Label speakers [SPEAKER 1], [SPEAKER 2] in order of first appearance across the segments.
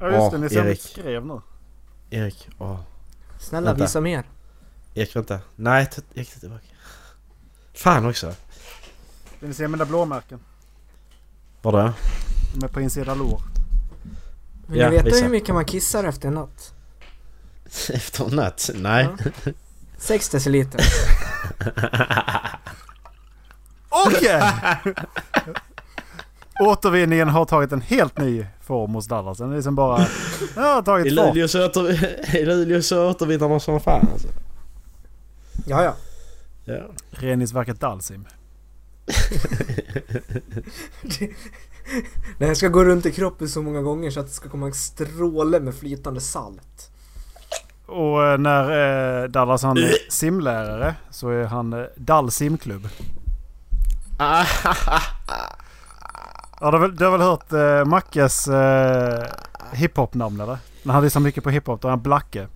[SPEAKER 1] Ja just
[SPEAKER 2] Åh,
[SPEAKER 1] det, ni ser vad jag
[SPEAKER 2] Erik.
[SPEAKER 1] skrev nu.
[SPEAKER 2] Erik, åh.
[SPEAKER 3] Snälla
[SPEAKER 2] Vänta.
[SPEAKER 3] visa mer.
[SPEAKER 2] Erik vänta. Nej, ta, Erik ta tillbaka. Fan också.
[SPEAKER 1] Vill ni se mina blåmärken?
[SPEAKER 2] Vadå?
[SPEAKER 1] De är på insida lår.
[SPEAKER 3] Vill
[SPEAKER 2] Ja,
[SPEAKER 3] ni veta
[SPEAKER 2] visa.
[SPEAKER 3] hur mycket man kissar efter en natt?
[SPEAKER 2] Efter en natt? Nej.
[SPEAKER 3] Ja. 6 deciliter.
[SPEAKER 1] Och igen! Återvinningen har tagit en helt ny form hos Dallas. Den är liksom bara... Jag har
[SPEAKER 2] I
[SPEAKER 1] tagit fart.
[SPEAKER 2] Luleå så, åter, i Luleå så återvinner de som fan alltså.
[SPEAKER 3] Ja, ja.
[SPEAKER 2] Ja.
[SPEAKER 1] Reningsverket Dalsim.
[SPEAKER 3] Den ska gå runt i kroppen så många gånger så att det ska komma en stråle med flytande salt.
[SPEAKER 1] Och eh, när eh, Dallas han är simlärare så är han eh, Dall simklubb. Ja, du, har väl- du har väl hört eh, Mackes eh, hiphop-namn eller? När han lyssnar mycket på hiphop då är han Blacke.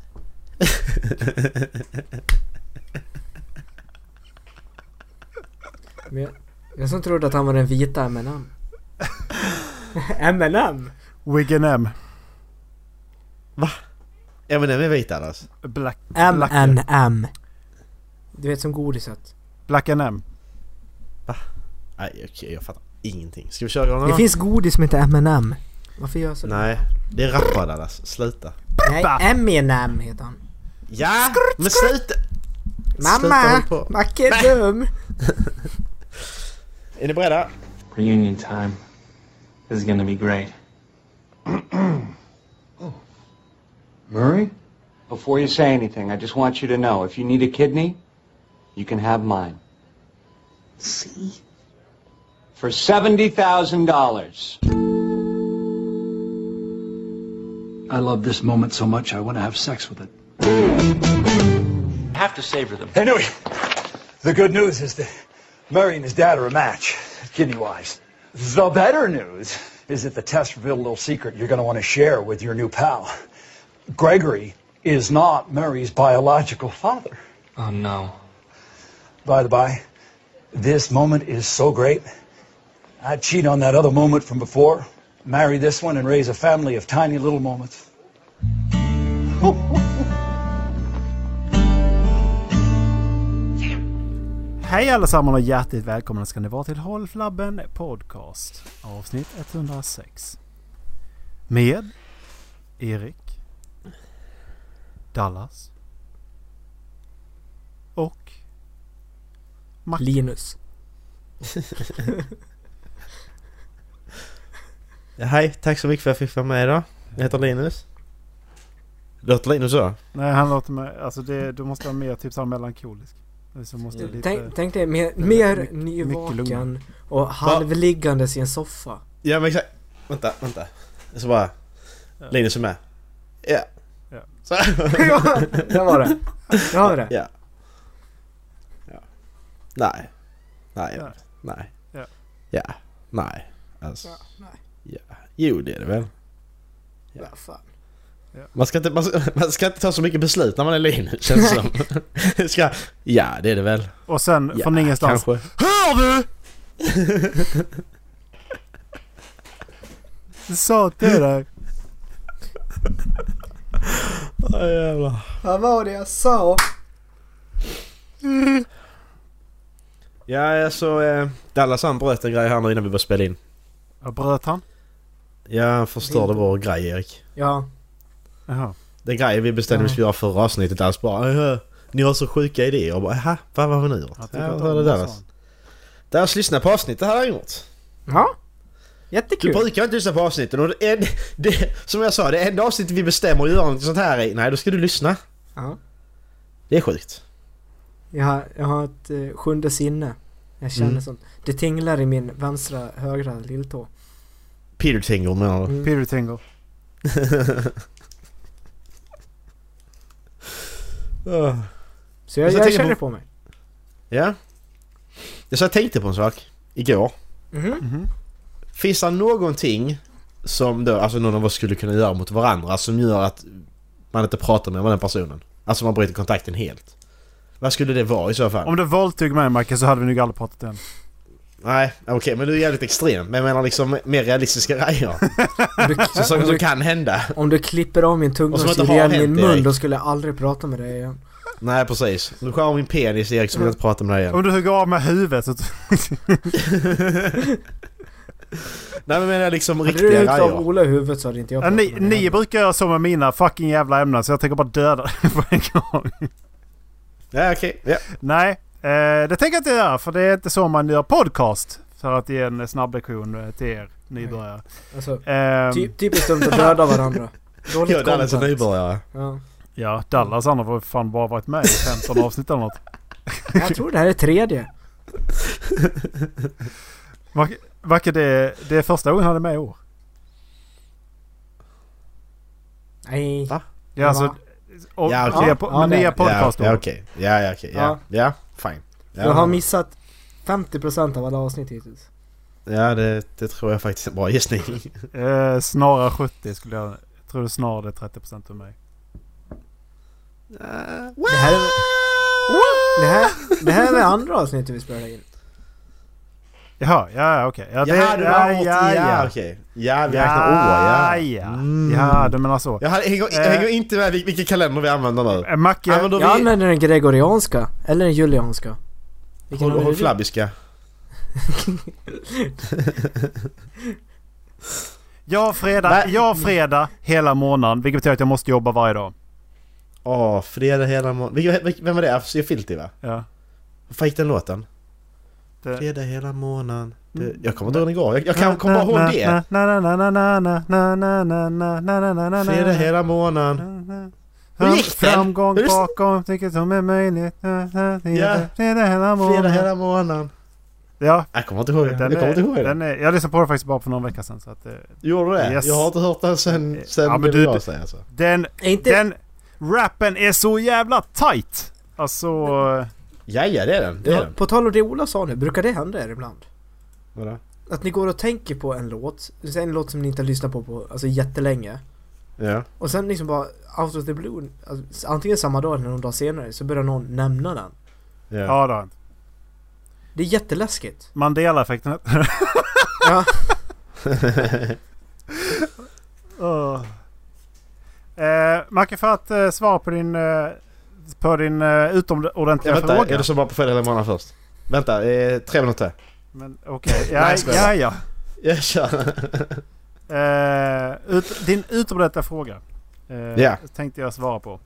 [SPEAKER 3] Men jag, jag som trodde att han var den vita M&M M&M?
[SPEAKER 1] Wiggen M.
[SPEAKER 2] ja men den är vit annars.
[SPEAKER 1] Black, Blacke.
[SPEAKER 3] M&M Du vet som godiset.
[SPEAKER 1] Black M.
[SPEAKER 2] Nej okej, jag fattar ingenting. Ska vi köra igång
[SPEAKER 3] Det
[SPEAKER 2] då?
[SPEAKER 3] finns godis som heter M&M Varför gör jag så?
[SPEAKER 2] Nej, det är rappare Dallas. Sluta.
[SPEAKER 3] Nej,
[SPEAKER 1] Pappa.
[SPEAKER 3] M&M heter han.
[SPEAKER 2] Ja! Men sluta! Sluta
[SPEAKER 3] Mamma!
[SPEAKER 2] håll på.
[SPEAKER 3] Macke är dum!
[SPEAKER 2] Är ni beredda?
[SPEAKER 4] Reunion time. This is gonna be great.
[SPEAKER 5] Murray?
[SPEAKER 4] Before you say anything, I just want you to know if you need a kidney, you can have mine.
[SPEAKER 5] See?
[SPEAKER 4] For $70,000.
[SPEAKER 5] I love this moment so much I want to have sex with it.
[SPEAKER 4] Have to savor them.
[SPEAKER 6] Anyway, the good news is that Murray and his dad are a match, kidney wise. The better news is that the test revealed a little secret you're going to want to share with your new pal. Gregory is not Murray's biological father.
[SPEAKER 4] Oh no.
[SPEAKER 6] By the by, this moment is so great. I'd cheat on that other moment from before, marry this one, and raise a family of tiny little moments.
[SPEAKER 1] Hej allesammans och hjärtligt välkomna ska ni vara till Håll Flabben Podcast. Avsnitt 106. Med Erik, Dallas och Mac.
[SPEAKER 3] Linus.
[SPEAKER 2] Ja, hej, tack så mycket för att jag fick vara med idag. Jag heter Linus. Låter Linus så?
[SPEAKER 1] Nej han låter mig... Alltså det, du måste vara mer typ såhär melankolisk. Så måste det lite...
[SPEAKER 3] Tänk, tänk dig mer, mer
[SPEAKER 1] mycket- mycket
[SPEAKER 3] nyvaken
[SPEAKER 1] lugnare.
[SPEAKER 3] och halvliggandes i en soffa.
[SPEAKER 2] Ja men exakt. Vänta, vänta. Så bara... Linus är med. Ja.
[SPEAKER 1] Ja.
[SPEAKER 2] Så.
[SPEAKER 3] ja, där var det. Där var det.
[SPEAKER 2] ja. ja. Nej. Nej.
[SPEAKER 1] Ja.
[SPEAKER 2] Nej.
[SPEAKER 1] Ja.
[SPEAKER 2] Ja. Nej. Alltså.
[SPEAKER 3] Ja, nej.
[SPEAKER 2] Ja. Jo det är det väl.
[SPEAKER 3] Ja, fan.
[SPEAKER 2] Man ska inte, man ska, man ska inte ta så mycket beslut när man är Linus känns det som. Det ska, ja det är det väl.
[SPEAKER 1] Och sen
[SPEAKER 2] Ja,
[SPEAKER 1] från ingenstans.
[SPEAKER 2] Kanske.
[SPEAKER 1] Hör du? Du sa till dig.
[SPEAKER 2] Åh, jävlar.
[SPEAKER 3] Vad var det jag sa?
[SPEAKER 2] Ja alltså eh, Dallas han bröt en grej här nu innan vi började spela in.
[SPEAKER 1] Jag bröt han?
[SPEAKER 2] Ja han förstörde vår grej Erik.
[SPEAKER 3] Ja,
[SPEAKER 1] Jaha.
[SPEAKER 2] Den grejen vi bestämde
[SPEAKER 3] Ja.
[SPEAKER 2] vi skulle göra förra avsnittet alls bara "Aha, Ni har så sjuka idéer och bara aha, vad var vi nu gjort?
[SPEAKER 1] Jag tycker
[SPEAKER 2] Ja,
[SPEAKER 1] inte
[SPEAKER 2] vad var
[SPEAKER 1] om det,
[SPEAKER 2] det där
[SPEAKER 1] sa
[SPEAKER 2] alltså. Dallas lyssna på avsnittet, det här har jag gjort.
[SPEAKER 3] ja.
[SPEAKER 2] Du
[SPEAKER 3] Jättekul.
[SPEAKER 2] brukar inte lyssna på avsnitten och det, en, det, som jag sa, det enda avsnittet vi bestämmer att göra något sånt här i, nej då ska du lyssna.
[SPEAKER 3] Ja.
[SPEAKER 2] Det är sjukt.
[SPEAKER 3] Jag, har, jag har ett eh, sjunde sinne. Jag känner
[SPEAKER 2] Mm.
[SPEAKER 3] sånt. Det tinglar i min vänstra, högra lilltå. Mm.
[SPEAKER 2] Peter Tingle menar du?
[SPEAKER 1] han. Peter Tingle.
[SPEAKER 2] Ah.
[SPEAKER 3] Så jag,
[SPEAKER 2] Jag
[SPEAKER 3] jag
[SPEAKER 2] tänker
[SPEAKER 3] känner
[SPEAKER 2] på-
[SPEAKER 3] på... på mig.
[SPEAKER 2] Ja. Jag så jag tänkte på en sak igår.
[SPEAKER 3] Mhm.
[SPEAKER 2] Finns det någonting som då, alltså någon av oss skulle kunna göra mot varandra som gör att man inte pratar med den personen? Alltså man bryter kontakten helt. Vad skulle det vara i så fall?
[SPEAKER 1] Om du våldtog mig Mike så hade vi nog aldrig pratat än.
[SPEAKER 2] Nej, okej, men du är jävligt extrem. Men jag menar liksom mer realistiska grejer. Så saker som kan hända.
[SPEAKER 3] Om du klipper av min tunga
[SPEAKER 2] Och
[SPEAKER 3] och
[SPEAKER 2] som inte
[SPEAKER 3] syr
[SPEAKER 2] har
[SPEAKER 3] igen
[SPEAKER 2] hänt,
[SPEAKER 3] min mun,
[SPEAKER 2] Erik.
[SPEAKER 3] då skulle jag aldrig prata med dig igen.
[SPEAKER 2] Nej, precis. Du skär av min penis Erik, så vill jag inte prata med dig igen.
[SPEAKER 1] Om du hugger av med huvudet så...
[SPEAKER 2] Nej, men jag menar liksom
[SPEAKER 3] Hade du
[SPEAKER 2] riktiga
[SPEAKER 3] huggit av
[SPEAKER 2] grejer.
[SPEAKER 3] Ola i huvudet så hade inte jag
[SPEAKER 1] Ja,
[SPEAKER 3] pratat
[SPEAKER 1] ni,
[SPEAKER 3] med dig
[SPEAKER 1] ni
[SPEAKER 3] heller.
[SPEAKER 1] brukar göra så med mina fucking jävla ämnen så jag tänker bara döda dig på en gång.
[SPEAKER 2] Ja, okej. Ja.
[SPEAKER 1] Nej, eh, det tänker jag inte göra för det är inte så man gör podcast. För att ge en snabb lektion eh, till er nybörjare.
[SPEAKER 3] Alltså,
[SPEAKER 1] Ehm,
[SPEAKER 3] ty, typiskt dumt att döda varandra. Dåligt
[SPEAKER 2] Ja, Dallas är
[SPEAKER 3] content.
[SPEAKER 2] nybörjare.
[SPEAKER 3] Ja.
[SPEAKER 1] Ja, Dallas han har fan bara varit med i 15 avsnitt eller något.
[SPEAKER 3] Jag tror det här är tredje.
[SPEAKER 1] Verkar- Verkar det, det är första gången han är med i år.
[SPEAKER 3] Nej.
[SPEAKER 2] Va?
[SPEAKER 1] Ja, alltså,
[SPEAKER 3] Va?
[SPEAKER 1] och,
[SPEAKER 2] Ja,
[SPEAKER 1] ja,
[SPEAKER 2] okej.
[SPEAKER 1] nya, po-
[SPEAKER 3] Ja, det är
[SPEAKER 1] nya
[SPEAKER 3] det.
[SPEAKER 1] podcast
[SPEAKER 2] ja, ja, okej. Ja, ja, okej. Ja, ja. Fine. Ja,
[SPEAKER 3] Jag har missat 50% av alla avsnitt hittills.
[SPEAKER 2] Ja, det, det tror jag faktiskt är en bra gissning.
[SPEAKER 1] Eh, snarare 70 skulle jag... Jag tror snarare det är 30% för mig.
[SPEAKER 3] Det här är... Det här, det här är det andra avsnittet vi spelar in.
[SPEAKER 1] Jaha, ja ja, okej. Ja, det-
[SPEAKER 2] Ja, du har
[SPEAKER 1] ja,
[SPEAKER 2] åt-
[SPEAKER 1] ja, ja.
[SPEAKER 2] okej. Ja, vi räknar år,
[SPEAKER 1] Ja,
[SPEAKER 2] ja.
[SPEAKER 1] ja.
[SPEAKER 2] Mm.
[SPEAKER 1] Ja, du menar så.
[SPEAKER 2] Jag, hade, hänger, jag
[SPEAKER 1] Eh.
[SPEAKER 2] hänger inte med vil- vilken kalender vi använder nu.
[SPEAKER 1] Eh, Macke,
[SPEAKER 2] Använder
[SPEAKER 3] Jag
[SPEAKER 2] vi
[SPEAKER 3] använder den gregorianska, eller den julianska. Vilken
[SPEAKER 2] håll, håll
[SPEAKER 3] använder du?
[SPEAKER 2] flabbiska?
[SPEAKER 1] jag fredag,
[SPEAKER 2] Nej.
[SPEAKER 1] jag fredag hela månaden. Vilket betyder att jag måste jobba varje dag.
[SPEAKER 2] Åh, fredag hela månaden. Vem var det? FC Filti va?
[SPEAKER 1] Ja.
[SPEAKER 2] Vad fan gick den låten?
[SPEAKER 1] Det-
[SPEAKER 2] Fredag hela månaden. Det, jag kommer inte ihåg den igår. Jag, jag kan komma ihåg det. Fredag hela månaden. Hur gick den?
[SPEAKER 1] Framgång
[SPEAKER 2] Hur-
[SPEAKER 1] bakom vilket som är möjligt.
[SPEAKER 2] Ja.
[SPEAKER 1] Fredag hela
[SPEAKER 2] Fredag
[SPEAKER 1] månaden.
[SPEAKER 2] hela månaden.
[SPEAKER 1] Ja,
[SPEAKER 2] Jag kommer inte ihåg den. Jag
[SPEAKER 1] den
[SPEAKER 2] kommer inte ihåg
[SPEAKER 1] är,
[SPEAKER 2] den.
[SPEAKER 1] den är, jag lyssnade på den faktiskt bara för någon vecka sedan. Så att, eh,
[SPEAKER 2] Gjorde du det?
[SPEAKER 1] Yes.
[SPEAKER 2] Jag har inte hört den sen, sen
[SPEAKER 1] Ja,
[SPEAKER 2] ja,
[SPEAKER 1] men
[SPEAKER 2] men
[SPEAKER 1] du-
[SPEAKER 2] jag säger alltså.
[SPEAKER 1] den,
[SPEAKER 3] Är inte...
[SPEAKER 1] den rappen är så jävla tight! Alltså... eh,
[SPEAKER 2] Ja, ja det är den. Det är
[SPEAKER 3] Ja,
[SPEAKER 2] den.
[SPEAKER 3] på tal om det Ola sa nu, brukar det hända er ibland?
[SPEAKER 2] Vadå?
[SPEAKER 3] Att ni går och tänker på en låt, säg en låt som ni inte har lyssnat på på alltså, jättelänge.
[SPEAKER 2] Ja.
[SPEAKER 3] Och sen liksom bara out of the blue, alltså, antingen samma dag eller någon dag senare, så börjar någon nämna den.
[SPEAKER 2] Ja.
[SPEAKER 1] Ja, det har hänt.
[SPEAKER 3] Det är jätteläskigt.
[SPEAKER 1] Mandela-effekten.
[SPEAKER 3] Ja.
[SPEAKER 1] Åh. Eh, Macke, för att eh, svara på din, eh, på din eh,
[SPEAKER 2] Ja,
[SPEAKER 1] utomordentliga
[SPEAKER 2] vänta,
[SPEAKER 1] fråga.
[SPEAKER 2] är det så bara på fredag hela månaden först? Vänta, eh, tre minuter.
[SPEAKER 1] Men okej,
[SPEAKER 2] Nej,
[SPEAKER 1] ja,
[SPEAKER 2] jag skojar
[SPEAKER 1] ja,
[SPEAKER 2] bara.
[SPEAKER 1] ja.
[SPEAKER 2] Jag kör.
[SPEAKER 1] Eh, ut, din utomordentliga fråga eh,
[SPEAKER 2] Ja. Mm.
[SPEAKER 1] tänkte jag svara på.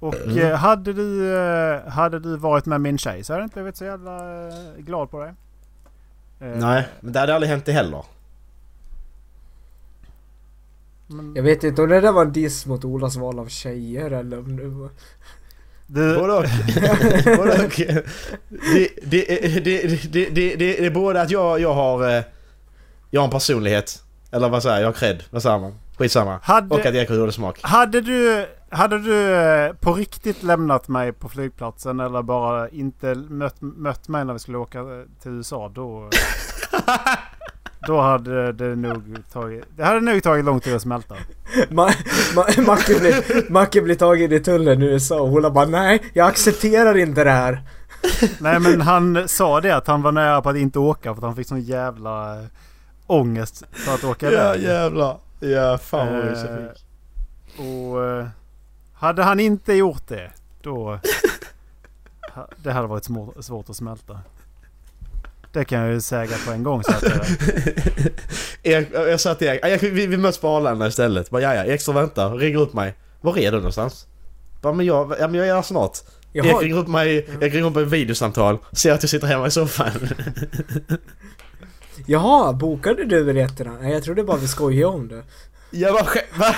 [SPEAKER 1] Och eh, hade, du, eh, hade du varit med min tjej så hade jag inte blivit så jävla eh, glad på dig. Eh,
[SPEAKER 2] Nej, men det hade aldrig hänt det heller.
[SPEAKER 1] Men,
[SPEAKER 3] Jag vet inte om det där var en diss mot Olas val av tjejer eller om det var...
[SPEAKER 1] du,
[SPEAKER 2] Både och. Både och. Det, det, det, det, det, det, det är både att jag, jag har... eh, Jag har en personlighet. Eller vad säger jag? Jag har cred. Vad säger man? Skitsamma.
[SPEAKER 1] Hade-
[SPEAKER 2] Och att Erik har dålig smak.
[SPEAKER 1] Hade du, hade du eh, på riktigt lämnat mig på flygplatsen eller bara inte mött, mött mig när vi skulle åka eh, till USA då... Då hade det nog tagit... Det hade nog tagit lång tid att smälta.
[SPEAKER 3] Ma- Ma- Macke, blir, Macke blir tagen i tullen i USA och Ola bara nej, jag accepterar inte det här.
[SPEAKER 1] Nej men han sa det att han var nära på att inte åka för att han fick sån jävla eh, ångest för att åka
[SPEAKER 2] Ja
[SPEAKER 1] iväg.
[SPEAKER 2] jävlar. Ja fan vad
[SPEAKER 1] Eh,
[SPEAKER 2] jag fick.
[SPEAKER 1] Och eh, hade han inte gjort det då... ha- Det hade varit små- svårt att smälta. Det kan jag ju säga på en gång. Så att, eh,
[SPEAKER 2] Erik, jag sa till Erik, Erik vi, vi möts på Arlanda istället. Bara jaja, Erik står och väntar, ringer upp mig. Var är du någonstans? Bara men jag, ja, men jag är här snart.
[SPEAKER 3] Jag
[SPEAKER 2] Erik
[SPEAKER 3] har,
[SPEAKER 2] ringer upp mig, Erik ringer upp mig i videosamtal, ser att jag sitter hemma i soffan.
[SPEAKER 3] jaha, bokade du biljetterna? Nej, jag trodde bara vi skojade om det.
[SPEAKER 2] Jag bara "Skä- va?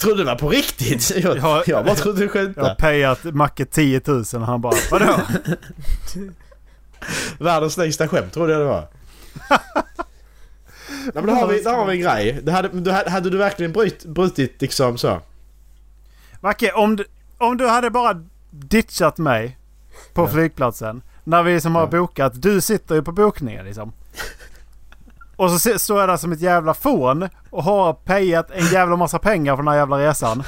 [SPEAKER 2] Trodde du det var på riktigt? Jag,
[SPEAKER 1] Ja.
[SPEAKER 2] jag bara trodde du
[SPEAKER 1] jag har
[SPEAKER 2] skämtade.
[SPEAKER 1] payat Macke 10 000 och han bara vadå?
[SPEAKER 2] Världens längsta skämt trodde jag det var. Nej men där har vi, där har vi en grej. Det hade, du, hade hade du verkligen bryt, brutit liksom så?
[SPEAKER 1] Macke om du, om du hade bara ditchat mig på flygplatsen. När vi som har
[SPEAKER 2] Ja.
[SPEAKER 1] bokat. Du sitter ju på bokningen liksom. Och så se- står jag där som ett jävla fån och har payat en jävla massa pengar för den här jävla resan.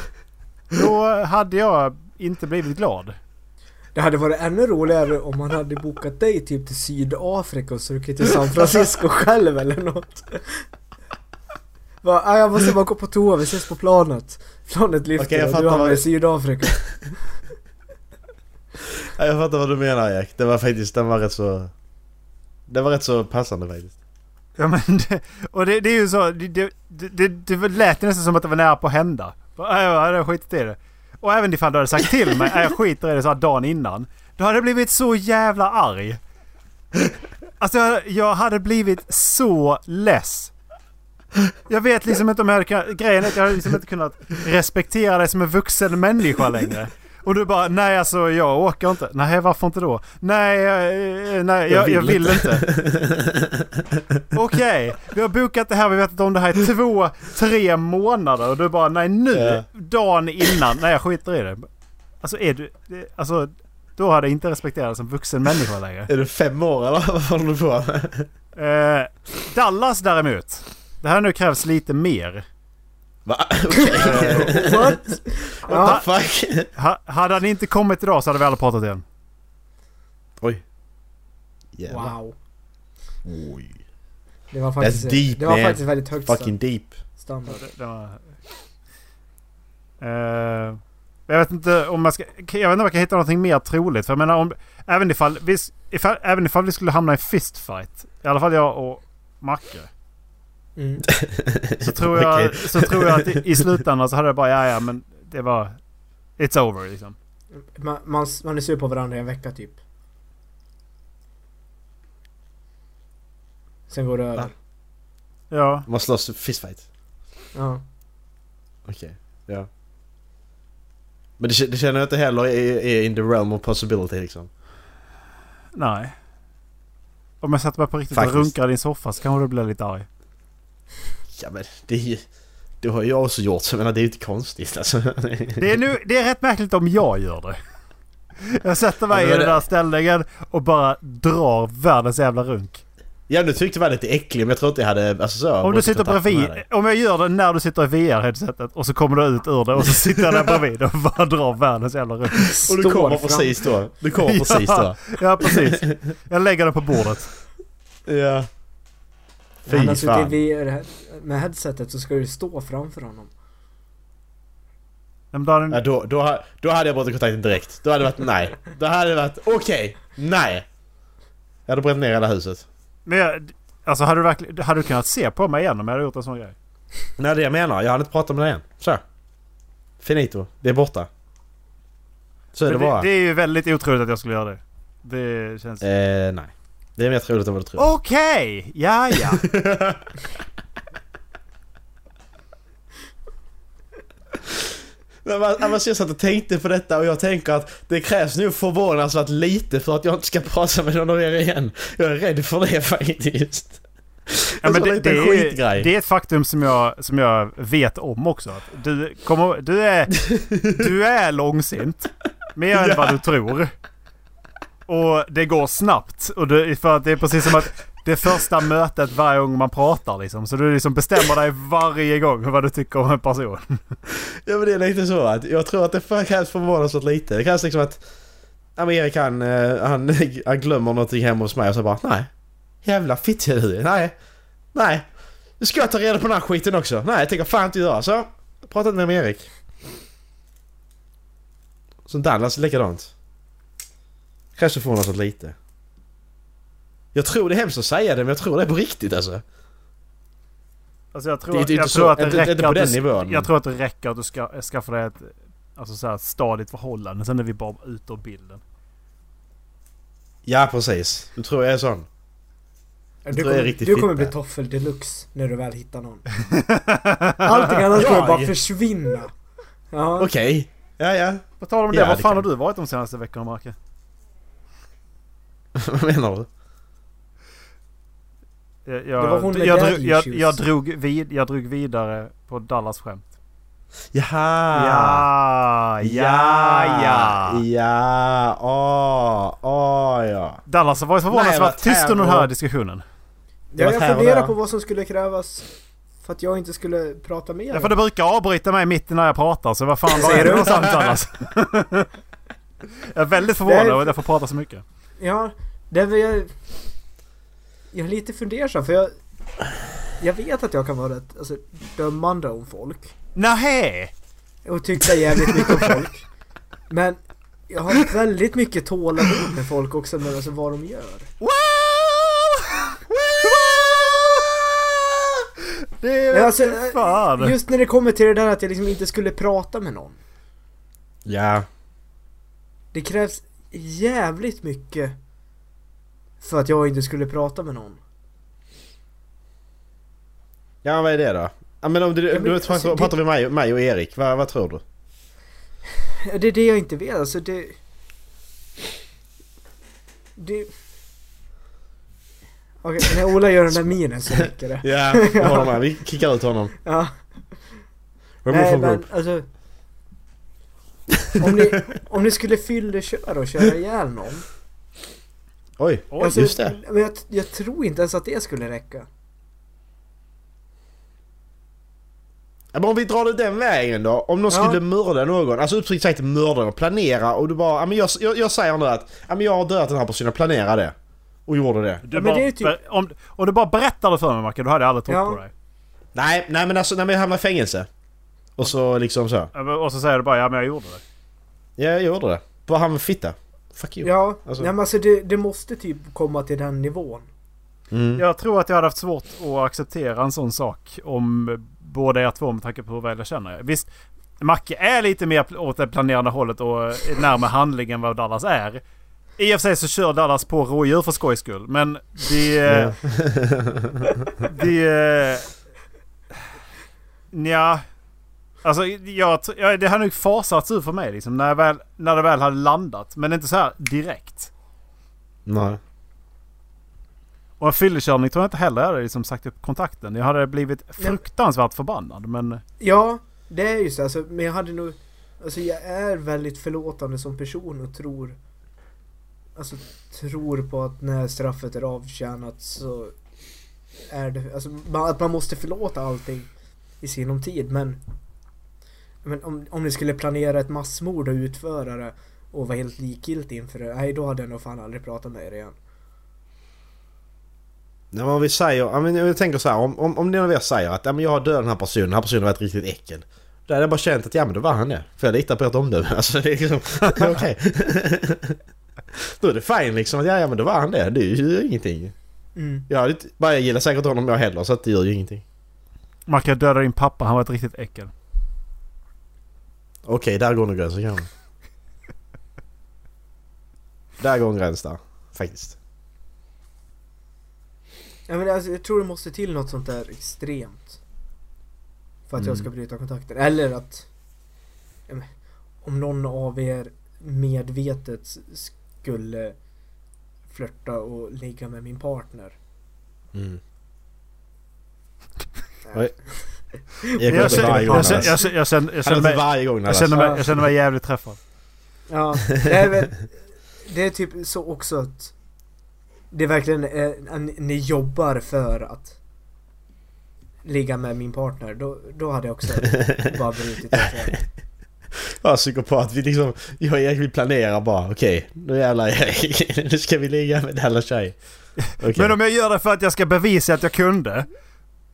[SPEAKER 1] Då hade jag inte blivit glad.
[SPEAKER 3] Det hade varit ännu roligare om man hade bokat dig typ till Sydafrika och stuckit till San Francisco själv eller något. Va, "Ah, jag måste bara gå på toa, vi ses på planet. Planet lyfter
[SPEAKER 2] Okej, jag
[SPEAKER 3] och du
[SPEAKER 2] fattar
[SPEAKER 3] hamnar
[SPEAKER 2] vad-
[SPEAKER 3] i Sydafrika.
[SPEAKER 2] Ja, jag fattar vad du menar Jack. Det var faktiskt, den var rätt så... Det var rätt så passande faktiskt.
[SPEAKER 1] Ja, men det, och det, det är ju så. Det, det, det, det lät ju nästan som att det var nära på att hända. Ja, Jag hade skitit i det. Och även ifall du hade sagt till mig att jag skiter i det så här dagen innan. Då hade jag blivit så jävla arg. Alltså jag, jag hade blivit så less. Jag vet liksom inte om jag hade kunnat... Grejen är att jag hade liksom inte kunnat respektera dig som en vuxen människa längre. Och du bara nej alltså jag åker inte. Nej varför inte då? Nej, eh, nej jag, jag vill inte. Okej, vi har bokat det här, vi har vetat om det här i två, tre månader och du bara nej nu,
[SPEAKER 2] Ja.
[SPEAKER 1] dagen innan, nej jag skiter i det. Alltså är du, det- alltså då hade jag inte respekterat dig som vuxen människa längre.
[SPEAKER 2] Är du fem år eller vad håller du på med?
[SPEAKER 1] Eh, Dallas däremot, det här nu krävs lite mer.
[SPEAKER 2] Va? Okej,
[SPEAKER 3] What? Ja,
[SPEAKER 2] what the fuck?
[SPEAKER 1] Ha, hade han inte kommit idag så hade vi aldrig pratat igen.
[SPEAKER 2] Oj. Jävlar.
[SPEAKER 3] wow.
[SPEAKER 2] Oj.
[SPEAKER 3] Det var
[SPEAKER 2] That's deep
[SPEAKER 3] faktiskt, det var
[SPEAKER 2] man.
[SPEAKER 3] faktiskt väldigt högt
[SPEAKER 2] Fucking deep.
[SPEAKER 3] standard.
[SPEAKER 1] Ja, det- det var- Eh, jag vet inte om man ska... Jag vet inte om man kan hitta någonting mer troligt. För jag menar om... Även ifall vi, ifall, även ifall vi skulle hamna i en fistfight. I alla fall jag och Macke.
[SPEAKER 3] Mm.
[SPEAKER 1] Så tror jag,
[SPEAKER 2] Okej.
[SPEAKER 1] så tror jag att i, i slutändan så hade jag bara ja ja men det var... It's over liksom.
[SPEAKER 3] Man, man, man är sur på varandra i en vecka typ. Sen går det över.
[SPEAKER 2] Va?
[SPEAKER 1] Ja.
[SPEAKER 2] Man slåss fistfight.
[SPEAKER 3] Ja.
[SPEAKER 2] Okej. Ja. Men det, k- det känner jag inte heller är, är in the realm of possibility liksom.
[SPEAKER 1] Nej. Om jag satte mig på riktigt och
[SPEAKER 2] Faktiskt.
[SPEAKER 1] runkade i din soffa så kanske du blev lite arg.
[SPEAKER 2] Ja men det är ju... Det har jag också gjort så jag menar det är ju inte konstigt alltså.
[SPEAKER 1] Det är, nu, det är rätt märkligt om jag gör det. Jag sätter mig
[SPEAKER 2] Ja,
[SPEAKER 1] i
[SPEAKER 2] men
[SPEAKER 1] den
[SPEAKER 2] det-
[SPEAKER 1] där ställningen och bara drar världens jävla runk.
[SPEAKER 2] Ja du tyckte jag var lite äcklig men jag tror inte jag hade... Alltså så,
[SPEAKER 1] Om du sitter
[SPEAKER 2] kontakt med
[SPEAKER 1] bredvid,
[SPEAKER 2] dig.
[SPEAKER 1] om jag gör det när du sitter i VR-headsetet och så kommer du ut ur det och så sitter jag där bredvid och bara drar världens jävla runk.
[SPEAKER 2] Och du
[SPEAKER 3] Står
[SPEAKER 2] kommer
[SPEAKER 3] fram.
[SPEAKER 2] precis då. Du kommer precis då.
[SPEAKER 1] ja, ja, precis. Jag lägger den på bordet.
[SPEAKER 2] Ja. Fy
[SPEAKER 3] Han har
[SPEAKER 2] fan.
[SPEAKER 3] suttit i VR med headsetet så ska du stå framför honom.
[SPEAKER 1] Men då har
[SPEAKER 2] Ja,
[SPEAKER 1] den,
[SPEAKER 2] då, då, ha- då hade jag brutit kontakten direkt. Då hade det varit nej. Då hade det varit okej, nej. Jag hade bränt ner hela huset.
[SPEAKER 1] men jag, alltså hade du, verkligen, hade du kunnat se på mig igen om jag hade gjort en sån grej?
[SPEAKER 2] Nej det jag menar, jag hade inte pratat med dig igen. Så. Finito, det är borta. Så är det,
[SPEAKER 1] Men
[SPEAKER 2] bara.
[SPEAKER 1] det är ju väldigt otroligt att jag skulle göra det. Det känns...
[SPEAKER 2] Eh, nej. Det är mer troligt än vad du tror.
[SPEAKER 1] Okej! Ja, ja.
[SPEAKER 2] Men vad- Annars jag satt och tänkte på detta och jag tänker att det krävs nu förvånansvärt lite för att jag inte ska prata med någon av er igen. Jag är rädd för det faktiskt.
[SPEAKER 1] Ja, men
[SPEAKER 2] Jag tror
[SPEAKER 1] det,
[SPEAKER 2] inte
[SPEAKER 1] det,
[SPEAKER 2] en
[SPEAKER 1] är,
[SPEAKER 2] skitgrej.
[SPEAKER 1] det är ett faktum som jag, som jag vet om också. Att du, kommer, du, är, du är långsint. Mer än vad du tror. Och det går snabbt. Och det, för att det är precis som att det är första mötet varje gång man pratar liksom. Så du liksom bestämmer dig varje gång vad du tycker om en person.
[SPEAKER 2] Ja men det är lite så att jag tror att det för- krävs förvånansvärt lite. Det krävs liksom att... Ja men Erik han, eh, han, han glömmer någonting hemma hos mig och så bara nej. Jävla fitthuvud, nej. Nej. Nu ska jag ta reda på den här skiten också. Nej jag tänker fan inte göra så. jag Pratar inte med Erik. Så Dallas är likadant. Krävs det förvånansvärt lite. Jag tror det är hemskt att säga det men jag tror det är på riktigt alltså.
[SPEAKER 1] Alltså jag tror,
[SPEAKER 2] Det är
[SPEAKER 1] att-
[SPEAKER 2] inte
[SPEAKER 1] jag
[SPEAKER 2] så-
[SPEAKER 1] tror att det
[SPEAKER 2] inte- inte
[SPEAKER 1] räcker
[SPEAKER 2] på
[SPEAKER 1] att du,
[SPEAKER 2] den nivån.
[SPEAKER 1] Jag tror att det räcker att du ska, skaffar dig ett alltså så här, stadigt förhållande. Sen är vi bara ute ur bilden.
[SPEAKER 2] Ja precis. Du tror jag är sån.
[SPEAKER 3] Du
[SPEAKER 2] tror jag är
[SPEAKER 3] kommer,
[SPEAKER 2] riktigt
[SPEAKER 3] du kommer bli
[SPEAKER 2] fitta.
[SPEAKER 3] toffel deluxe när du väl hittar någon. Allting annat kommer
[SPEAKER 2] Jag?
[SPEAKER 3] bara försvinna. Ja,
[SPEAKER 2] Okej. Ja ja.
[SPEAKER 1] På tal om det,
[SPEAKER 2] Ja,
[SPEAKER 1] vad
[SPEAKER 2] det
[SPEAKER 1] fan
[SPEAKER 2] kan-
[SPEAKER 1] har du varit de senaste veckorna Marke?
[SPEAKER 2] Vad menar du?
[SPEAKER 1] Jag,
[SPEAKER 3] Det var hon
[SPEAKER 1] jag,
[SPEAKER 3] med
[SPEAKER 1] jag,
[SPEAKER 3] daddy
[SPEAKER 1] drog, jag,
[SPEAKER 3] issues.
[SPEAKER 1] jag, drog vid, jag drog vidare på Dallas skämt.
[SPEAKER 3] Ah.
[SPEAKER 2] Jaha!
[SPEAKER 1] Ja, ja, ja.
[SPEAKER 2] Ja, åh, åh ja.
[SPEAKER 1] Dallas har varit
[SPEAKER 2] Nej,
[SPEAKER 1] förvånansvärt
[SPEAKER 2] vad
[SPEAKER 1] tyst under den här
[SPEAKER 2] terror.
[SPEAKER 1] diskussionen.
[SPEAKER 2] Det
[SPEAKER 3] jag,
[SPEAKER 2] var
[SPEAKER 3] jag
[SPEAKER 2] här och
[SPEAKER 3] funderar
[SPEAKER 2] där.
[SPEAKER 3] på vad som skulle krävas för att jag inte skulle prata med
[SPEAKER 1] Därför
[SPEAKER 3] er.
[SPEAKER 1] du brukar avbryta mig mitt när jag pratar så vad fan var är
[SPEAKER 3] Ser
[SPEAKER 1] det
[SPEAKER 3] du?
[SPEAKER 1] någonstans Dallas? Jag är väldigt förvånad
[SPEAKER 3] Nej.
[SPEAKER 1] över att jag får prata så mycket.
[SPEAKER 3] Ja, det är väl jag... Jag är lite fundersam för jag... Jag vet att jag kan vara rätt alltså, dömande om folk.
[SPEAKER 1] Nähä!
[SPEAKER 3] Och tycka jävligt mycket om folk. Men jag har väldigt mycket tålamod med folk också med alltså, vad de gör.
[SPEAKER 1] Wow! Wow! Det är...
[SPEAKER 3] Men alltså,
[SPEAKER 1] fan.
[SPEAKER 3] Just när det kommer till det där att jag liksom inte skulle prata med någon.
[SPEAKER 2] Ja.
[SPEAKER 3] Det krävs jävligt mycket för att jag inte skulle prata med någon.
[SPEAKER 2] Ja, vad är det då? Ja, men om du,
[SPEAKER 3] men
[SPEAKER 2] du
[SPEAKER 3] alltså,
[SPEAKER 2] pratar,
[SPEAKER 3] det-
[SPEAKER 2] pratar vi mig, mig och Erik. Vad, vad tror du?
[SPEAKER 3] Det är det jag inte vet. Alltså det... Det... Okej, när Ola gör den där minen så räcker det.
[SPEAKER 2] Ja, jag håller med. Vi kickar ut honom.
[SPEAKER 3] Ja.
[SPEAKER 2] Remove
[SPEAKER 3] Nej
[SPEAKER 2] from
[SPEAKER 3] men
[SPEAKER 2] group.
[SPEAKER 3] alltså... Om ni, om ni skulle fylleköra och köra ihjäl någon.
[SPEAKER 2] Oj,
[SPEAKER 3] alltså,
[SPEAKER 2] just det.
[SPEAKER 3] Men jag, jag tror inte ens att det skulle räcka.
[SPEAKER 2] Ja, men om vi drar det den vägen då. Om någon
[SPEAKER 3] Ja.
[SPEAKER 2] skulle mörda någon, alltså uppriktigt sagt mörda och planera och du bara, ja men jag, jag, jag säger nu att, ja men jag har dödat den här personen, planera det. Och gjorde det.
[SPEAKER 1] Du
[SPEAKER 3] Ja, men
[SPEAKER 1] bara,
[SPEAKER 3] det är typ-
[SPEAKER 1] ber- om, om du bara berättade för mig Macke, då hade jag aldrig trott
[SPEAKER 3] Ja.
[SPEAKER 1] på dig.
[SPEAKER 2] Nej, nej men alltså, nej men jag hamnade i fängelse. Och så liksom så.
[SPEAKER 1] Ja, men- Och så säger du bara ja men jag gjorde det.
[SPEAKER 2] Ja, jag gjorde det. Bara han med fitta. Fuck you.
[SPEAKER 3] Ja,
[SPEAKER 2] alltså-
[SPEAKER 3] nej, men alltså det, det måste typ komma till den nivån.
[SPEAKER 2] Mm.
[SPEAKER 1] Jag tror att jag hade haft svårt att acceptera en sån sak om båda er två med tanke på hur väl jag känner er. Visst, Macke är lite mer pl- åt det planerande hållet och är närmare handling än vad Dallas är. I och för sig så kör Dallas på rådjur för skojs skull, men det... det... Nja... Alltså jag, tr- jag, det har nog fasats ur för mig liksom när, jag väl, när det väl hade landat. Men inte så här direkt.
[SPEAKER 2] Nej.
[SPEAKER 1] Och en fyllekörning tror jag inte heller jag hade liksom sagt upp kontakten. Jag hade blivit fruktansvärt förbannad. Men
[SPEAKER 3] Ja, det är ju så. Alltså, men jag hade nog... Alltså jag är väldigt förlåtande som person och tror... Alltså tror på att när straffet är avtjänat så... Är det... Alltså man, att man måste förlåta allting i sinom tid men... Men om, om ni skulle planera ett massmord och utföra det och vara helt likgiltig inför det. Nej, då hade jag nog fan aldrig pratat med er igen.
[SPEAKER 2] Nej men om vi säger, ja, men jag tänker så här, om, om, om någon av er säger att ja, men jag har dödat den här personen, den här personen har varit riktigt äckel. Då hade jag bara känt att ja men då var han det. För jag litar på ert omdöme. Alltså det är liksom, det är okej. då är det fine liksom, att ja, ja men då var han det. Det gör ju ingenting.
[SPEAKER 3] Mm.
[SPEAKER 2] Jag, hade, inte- bara, jag gillar säkert honom jag heller så att det gör ju ingenting.
[SPEAKER 1] Macke jag dödade din pappa. Han var ett riktigt äckel.
[SPEAKER 2] Okej, där går nog gränsen kanske. där går en gräns där. Faktiskt.
[SPEAKER 3] Ja, men alltså, jag tror det måste till något sånt där extremt. För att jag ska bryta kontakten. Eller att... ja, men, Om någon av er medvetet s- skulle flörta och ligga med min partner.
[SPEAKER 2] Mm.
[SPEAKER 3] Nej.
[SPEAKER 2] Oj.
[SPEAKER 1] Jag,
[SPEAKER 2] Jag
[SPEAKER 1] jag,
[SPEAKER 2] går
[SPEAKER 1] känner,
[SPEAKER 2] inte varje
[SPEAKER 1] jag,
[SPEAKER 2] gång
[SPEAKER 1] jag,
[SPEAKER 2] Dallas.
[SPEAKER 1] känner- jag, känner- jag, känner- jag, känner
[SPEAKER 2] Han är alltså. inte
[SPEAKER 1] mig-
[SPEAKER 2] varje gång
[SPEAKER 1] jag
[SPEAKER 2] Dallas.
[SPEAKER 1] känner mig- jag känner mig jävligt träffad.
[SPEAKER 3] Ja, det är väl... Det är typ så också att... Det verkligen är, att ni- ni jobbar för att ligga med min partner. Då, då hade jag också bara brutit kontakten.
[SPEAKER 2] Ja, psykopat. Vi liksom, jag och Erik vi planerar bara. Okej, nu jävlar Erik. Nu ska vi ligga med alla tjej. Okej.
[SPEAKER 1] Men om jag gör det för att jag ska bevisa att jag kunde.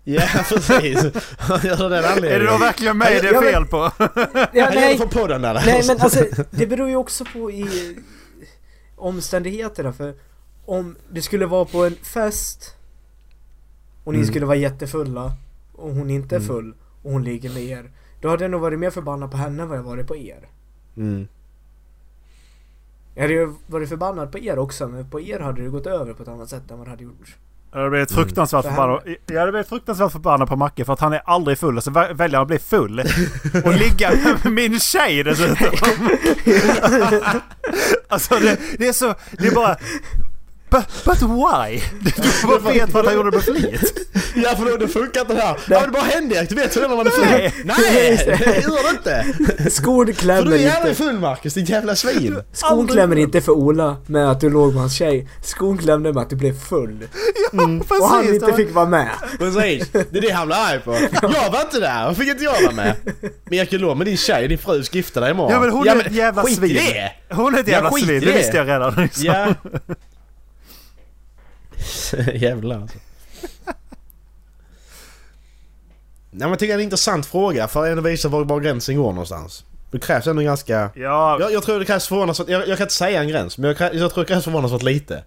[SPEAKER 2] Ja, precis. Gör det av den
[SPEAKER 1] Är det då
[SPEAKER 2] anledningen.
[SPEAKER 1] verkligen mig det
[SPEAKER 3] Ja,
[SPEAKER 1] är
[SPEAKER 3] men-
[SPEAKER 1] fel på?
[SPEAKER 3] Ja,
[SPEAKER 2] Han gör det för podden Dallas.
[SPEAKER 3] Nej men alltså det beror ju också på i omständigheterna för om det skulle vara på en fest och ni
[SPEAKER 2] Mm.
[SPEAKER 3] skulle vara jättefulla och hon inte är full och hon ligger med er då hade jag nog varit mer förbannad på henne än vad jag varit på er.
[SPEAKER 2] Mm.
[SPEAKER 3] Jag hade ju varit förbannad på er också men på er hade det gått över på ett annat sätt än vad det hade gjort.
[SPEAKER 1] Jag hade blivit fruktansvärt
[SPEAKER 3] Mm.
[SPEAKER 1] förbannad. Jag hade blivit fruktansvärt förbannad på Macke för att han är aldrig full. Och så vä- väljer han att bli full. Och ligga med min tjej dessutom. alltså det, det är så... Det är bara... But, but why? Du bara vet vad han gjorde med flit.
[SPEAKER 2] Ja för då, då funkar inte det här. Ja men det bara hände Erik, du vet redan vad det Nej! Nej! Det gör det inte!
[SPEAKER 3] Skon
[SPEAKER 2] För du
[SPEAKER 3] klämmer
[SPEAKER 2] är jävla
[SPEAKER 3] inte.
[SPEAKER 2] full Marcus, ditt jävla svin!
[SPEAKER 3] Skon klämmer inte för Ola med att du låg med hans tjej. Skon klämde med att du blev full.
[SPEAKER 1] Precis,
[SPEAKER 3] Mm. Och han
[SPEAKER 1] det
[SPEAKER 3] inte
[SPEAKER 1] var-
[SPEAKER 3] fick vara med.
[SPEAKER 2] Precis, det är det han blir arg på. Jag var inte där, varför fick inte jag vara med? Men jag kan lova med din tjej, din fru ska gifta dig imorgon.
[SPEAKER 1] Ja men hon är ett jävla
[SPEAKER 2] skit i
[SPEAKER 1] svin.
[SPEAKER 2] det!
[SPEAKER 1] Hon är ett
[SPEAKER 2] Ja,
[SPEAKER 1] jävla
[SPEAKER 2] skit i
[SPEAKER 1] svin, det
[SPEAKER 2] det.
[SPEAKER 1] visste jag redan. Liksom.
[SPEAKER 2] Ja. Jävlar alltså. Nej, men jag tycker det är en intressant fråga för att ändå visa var, var gränsen går någonstans. Det krävs ändå ganska...
[SPEAKER 1] Ja,
[SPEAKER 2] Jag, jag tror det krävs förvånansvärt... Jag, jag kan inte säga en gräns, men jag, krä- jag tror det krävs förvånansvärt lite.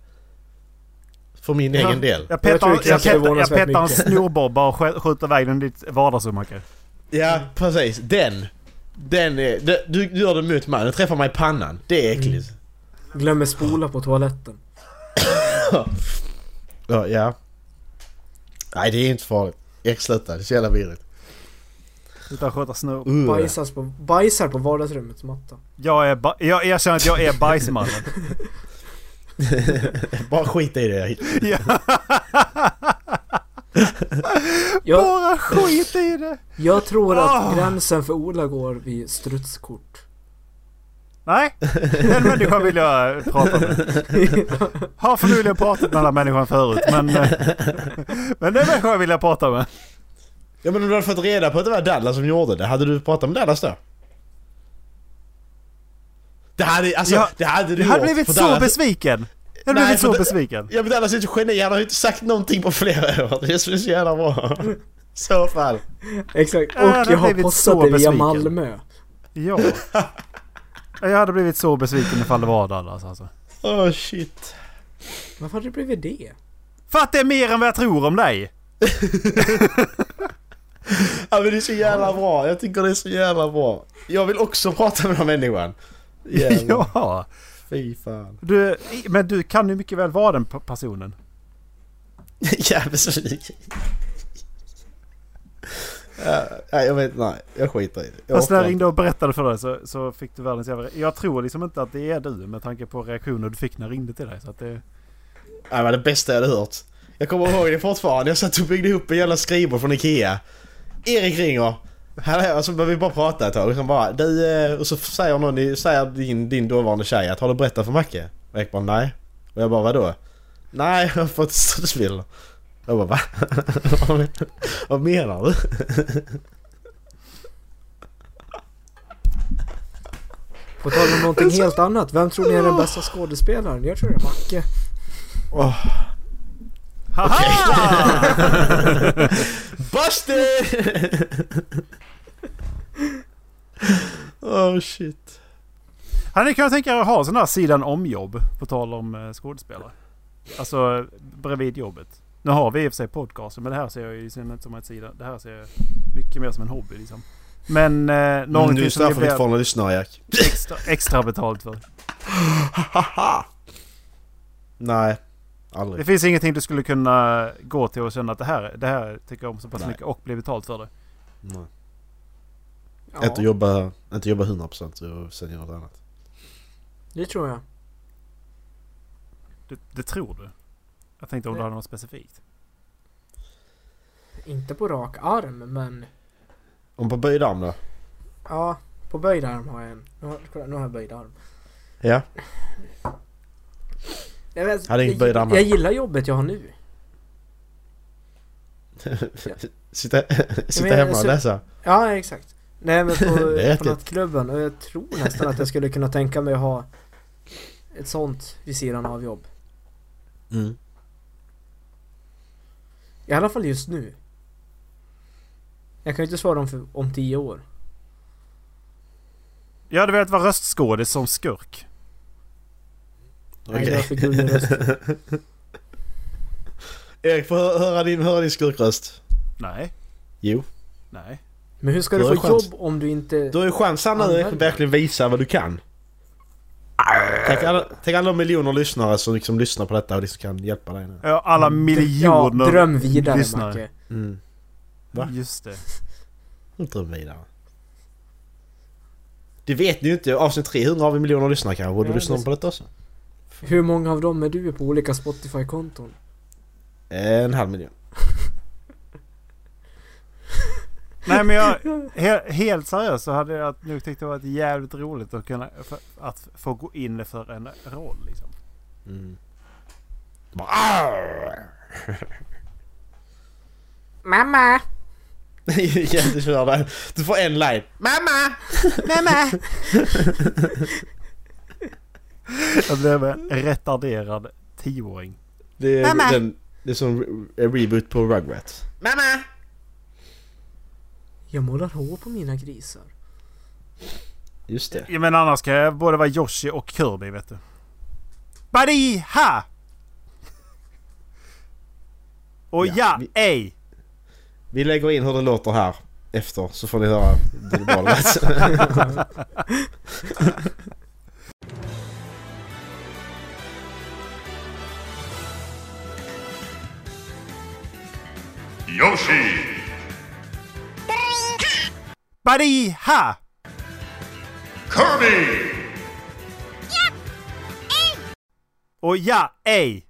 [SPEAKER 2] För min egen del.
[SPEAKER 1] Jag
[SPEAKER 3] Jag tror
[SPEAKER 1] petar,
[SPEAKER 3] det
[SPEAKER 1] jag
[SPEAKER 3] krävs
[SPEAKER 1] petar, jag
[SPEAKER 3] förvånansvärt
[SPEAKER 1] petar en
[SPEAKER 3] mycket.
[SPEAKER 1] snorbob bara och skj- skjuter iväg den i ditt vardagsrum Macke.
[SPEAKER 2] Ja, precis. Den. Den är... Du, du gör det mot mig. Du träffar mig i pannan. Det är äckligt.
[SPEAKER 1] Mm.
[SPEAKER 3] Glömmer spola på toaletten.
[SPEAKER 2] Ja, ja. Nej, det är inte farligt. Erik, sluta. Det är så jävla virrigt.
[SPEAKER 1] Utan skjuta snor.
[SPEAKER 2] Uh.
[SPEAKER 3] Bajsas på, bajsar på vardagsrummets matta.
[SPEAKER 1] Jag är ba- jag erkänner att jag är bajsmannen.
[SPEAKER 2] Bara skit i det, Erik.
[SPEAKER 1] Ja,
[SPEAKER 3] Jag,
[SPEAKER 1] bara skit i det!
[SPEAKER 3] jag tror
[SPEAKER 1] Ah.
[SPEAKER 3] att gränsen för Ola går vid strutskort.
[SPEAKER 1] Nej, den människan vill jag prata med. Har förmodligen pratat med den här människan förut men... eh, Men den människan vill jag prata med.
[SPEAKER 2] Ja men om du hade fått reda på att det var Dallas som gjorde det, hade du pratat med Dallas då? Det hade, alltså,
[SPEAKER 1] Ja,
[SPEAKER 2] det hade du
[SPEAKER 1] Jag hade
[SPEAKER 2] gjort,
[SPEAKER 1] blivit
[SPEAKER 2] för
[SPEAKER 1] så
[SPEAKER 2] Dallas-
[SPEAKER 1] besviken! Jag hade
[SPEAKER 2] Nej,
[SPEAKER 1] blivit så
[SPEAKER 2] för-
[SPEAKER 1] besviken.
[SPEAKER 2] Ja men Dallas är ett geni, han har ju inte sagt någonting på flera år. Det är så jävla bra. I så fall.
[SPEAKER 3] Exakt. Och
[SPEAKER 1] Ja, det
[SPEAKER 3] jag har
[SPEAKER 1] blev vi så
[SPEAKER 3] postat det via
[SPEAKER 1] besviken.
[SPEAKER 3] Malmö.
[SPEAKER 1] Ja. Jag hade blivit så besviken ifall det var Dallas alltså.
[SPEAKER 2] Åh oh, shit.
[SPEAKER 3] Varför hade det blivit det?
[SPEAKER 1] För att det är mer än vad jag tror om dig!
[SPEAKER 2] Ja men det är så jävla bra, jag tycker det är så jävla bra. Jag vill också prata med den här människan. Jävlar, ja.
[SPEAKER 1] Ja.
[SPEAKER 2] fy fan.
[SPEAKER 1] Du, men du kan ju mycket väl vara den p- personen.
[SPEAKER 2] Jävligt besviken. Ja, Nej jag vet nej, jag skiter i det. Jag
[SPEAKER 1] Fast när
[SPEAKER 2] orkar
[SPEAKER 1] jag
[SPEAKER 2] inte.
[SPEAKER 1] ringde och berättade för dig så, så fick du världens jävla... Jag tror liksom inte att det är du med tanke på reaktioner du fick när jag ringde till dig. Så att det...
[SPEAKER 2] Ja, Det var det bästa jag hade hört. Jag kommer ihåg det fortfarande. Jag satt och byggde ihop en jävla skrivbord från Ikea. Erik ringer. Hallå, och så började vi bara prata ett tag. Och, sen bara, du, eh, och så säger, någon, säger din, din dåvarande tjej att har du berättat för Macke? Och Erik bara nej. Och jag bara vadå? Nej, jag har fått strutsbilder. Jag bara va? Vad men- Vad menar du?
[SPEAKER 3] På tal om någonting helt annat, vem tror ni är den bästa skådespelaren? Jag tror det är Macke.
[SPEAKER 1] Haha! Ah!
[SPEAKER 2] Busted! oh shit.
[SPEAKER 1] Hade ni kunnat tänka er att ha sådana här sidan om-jobb? På tal om eh, skådespelare. Alltså eh, bredvid jobbet. Nu har vi i och för sig podcaster men det här ser jag ju som- som ett sida. Det här ser jag mycket mer som en hobby liksom. Men eh, någonting
[SPEAKER 2] Nu
[SPEAKER 1] som ni
[SPEAKER 2] straffar vi inte
[SPEAKER 1] blir
[SPEAKER 2] folk när lyssnar Erik.
[SPEAKER 1] extra, extra betalt för.
[SPEAKER 2] Nej,
[SPEAKER 1] Det
[SPEAKER 2] aldrig.
[SPEAKER 1] finns ingenting du skulle kunna gå till och känna att det här, det här tycker jag om så pass mycket och bli betalt för det.
[SPEAKER 2] Nej. Inte
[SPEAKER 3] Ja,
[SPEAKER 2] jobba, inte jobba 100% och sen göra något annat.
[SPEAKER 3] det tror jag.
[SPEAKER 1] Det, det tror du? Jag tänkte om du
[SPEAKER 3] Nej.
[SPEAKER 1] hade något specifikt.
[SPEAKER 3] Inte på rak arm, men
[SPEAKER 2] Om på böjd arm då?
[SPEAKER 3] ja, på böjd arm har jag en. Nu har, kolla, nu har jag böjd arm.
[SPEAKER 2] Ja.
[SPEAKER 3] Jag, vet,
[SPEAKER 2] Hade inget böjd arm
[SPEAKER 3] jag,
[SPEAKER 2] här.
[SPEAKER 3] jag gillar jobbet jag har nu.
[SPEAKER 2] sitta sitta
[SPEAKER 3] men
[SPEAKER 2] hemma och
[SPEAKER 3] så-
[SPEAKER 2] läsa?
[SPEAKER 3] Ja, exakt. Nej men på,
[SPEAKER 2] Det är
[SPEAKER 3] på
[SPEAKER 2] det.
[SPEAKER 3] nattklubben och jag tror nästan att jag skulle kunna tänka mig att ha ett sånt vid sidan av jobb.
[SPEAKER 2] Mm.
[SPEAKER 3] I alla fall just nu. Jag kan ju inte svara om, för, om tio år.
[SPEAKER 1] Jag hade velat vara röstskådis som skurk.
[SPEAKER 3] Nej, det var
[SPEAKER 2] Okej.
[SPEAKER 3] för gullig röst.
[SPEAKER 2] Erik, får hö- höra din, höra din skurkröst.
[SPEAKER 1] Nej,
[SPEAKER 2] Jo.
[SPEAKER 1] nej.
[SPEAKER 3] Men hur ska du
[SPEAKER 2] Då är det
[SPEAKER 3] få
[SPEAKER 2] chans.
[SPEAKER 3] jobb om du inte...
[SPEAKER 2] Du har ju chansen nu
[SPEAKER 3] Använd
[SPEAKER 2] att verkligen visa vad du kan. Tänk alla, tänk alla de miljoner lyssnare som liksom lyssnar på detta och liksom kan hjälpa dig nu.
[SPEAKER 1] Ja, Alla
[SPEAKER 3] ja,
[SPEAKER 1] miljoner
[SPEAKER 3] dröm vidare
[SPEAKER 1] lyssnare.
[SPEAKER 3] Macke.
[SPEAKER 2] Mm. Va?
[SPEAKER 1] Just det.
[SPEAKER 2] Inte dröm vidare. Det vet ni ju inte. Avsnitt 300 har vi miljoner lyssnare kanske. Borde
[SPEAKER 3] Ja,
[SPEAKER 2] du lyssna
[SPEAKER 3] det-
[SPEAKER 2] på detta också?
[SPEAKER 3] Hur många av dem är du på olika Spotify-konton?
[SPEAKER 2] En halv miljon.
[SPEAKER 1] Nej men jag, he, helt seriöst så hade jag nog tyckt det varit jävligt roligt att kunna, för, att få gå in för en roll liksom.
[SPEAKER 2] Mm. Bara, "Arr!"
[SPEAKER 3] Mamma!
[SPEAKER 2] Ja, du kör den. Du får en line. Mamma!
[SPEAKER 3] Mamma!
[SPEAKER 1] Jag blev en retarderad tioåring.
[SPEAKER 2] Det är,
[SPEAKER 3] Mamma!
[SPEAKER 2] Den, det är som re- en reboot på Rugrats. Mamma!
[SPEAKER 3] Jag målar hår på mina grisar.
[SPEAKER 2] Just det.
[SPEAKER 1] Ja, men annars kan jag både vara Yoshi och Kirby vet du. Buddy ha! Och
[SPEAKER 2] Ja,
[SPEAKER 1] ja,
[SPEAKER 2] vi-
[SPEAKER 1] ej!
[SPEAKER 2] Vi lägger in hur det låter här efter så får ni höra hur bra det lät.
[SPEAKER 7] Yoshi!
[SPEAKER 1] Buddy ha!
[SPEAKER 7] Kirby!
[SPEAKER 1] Och ja, ej!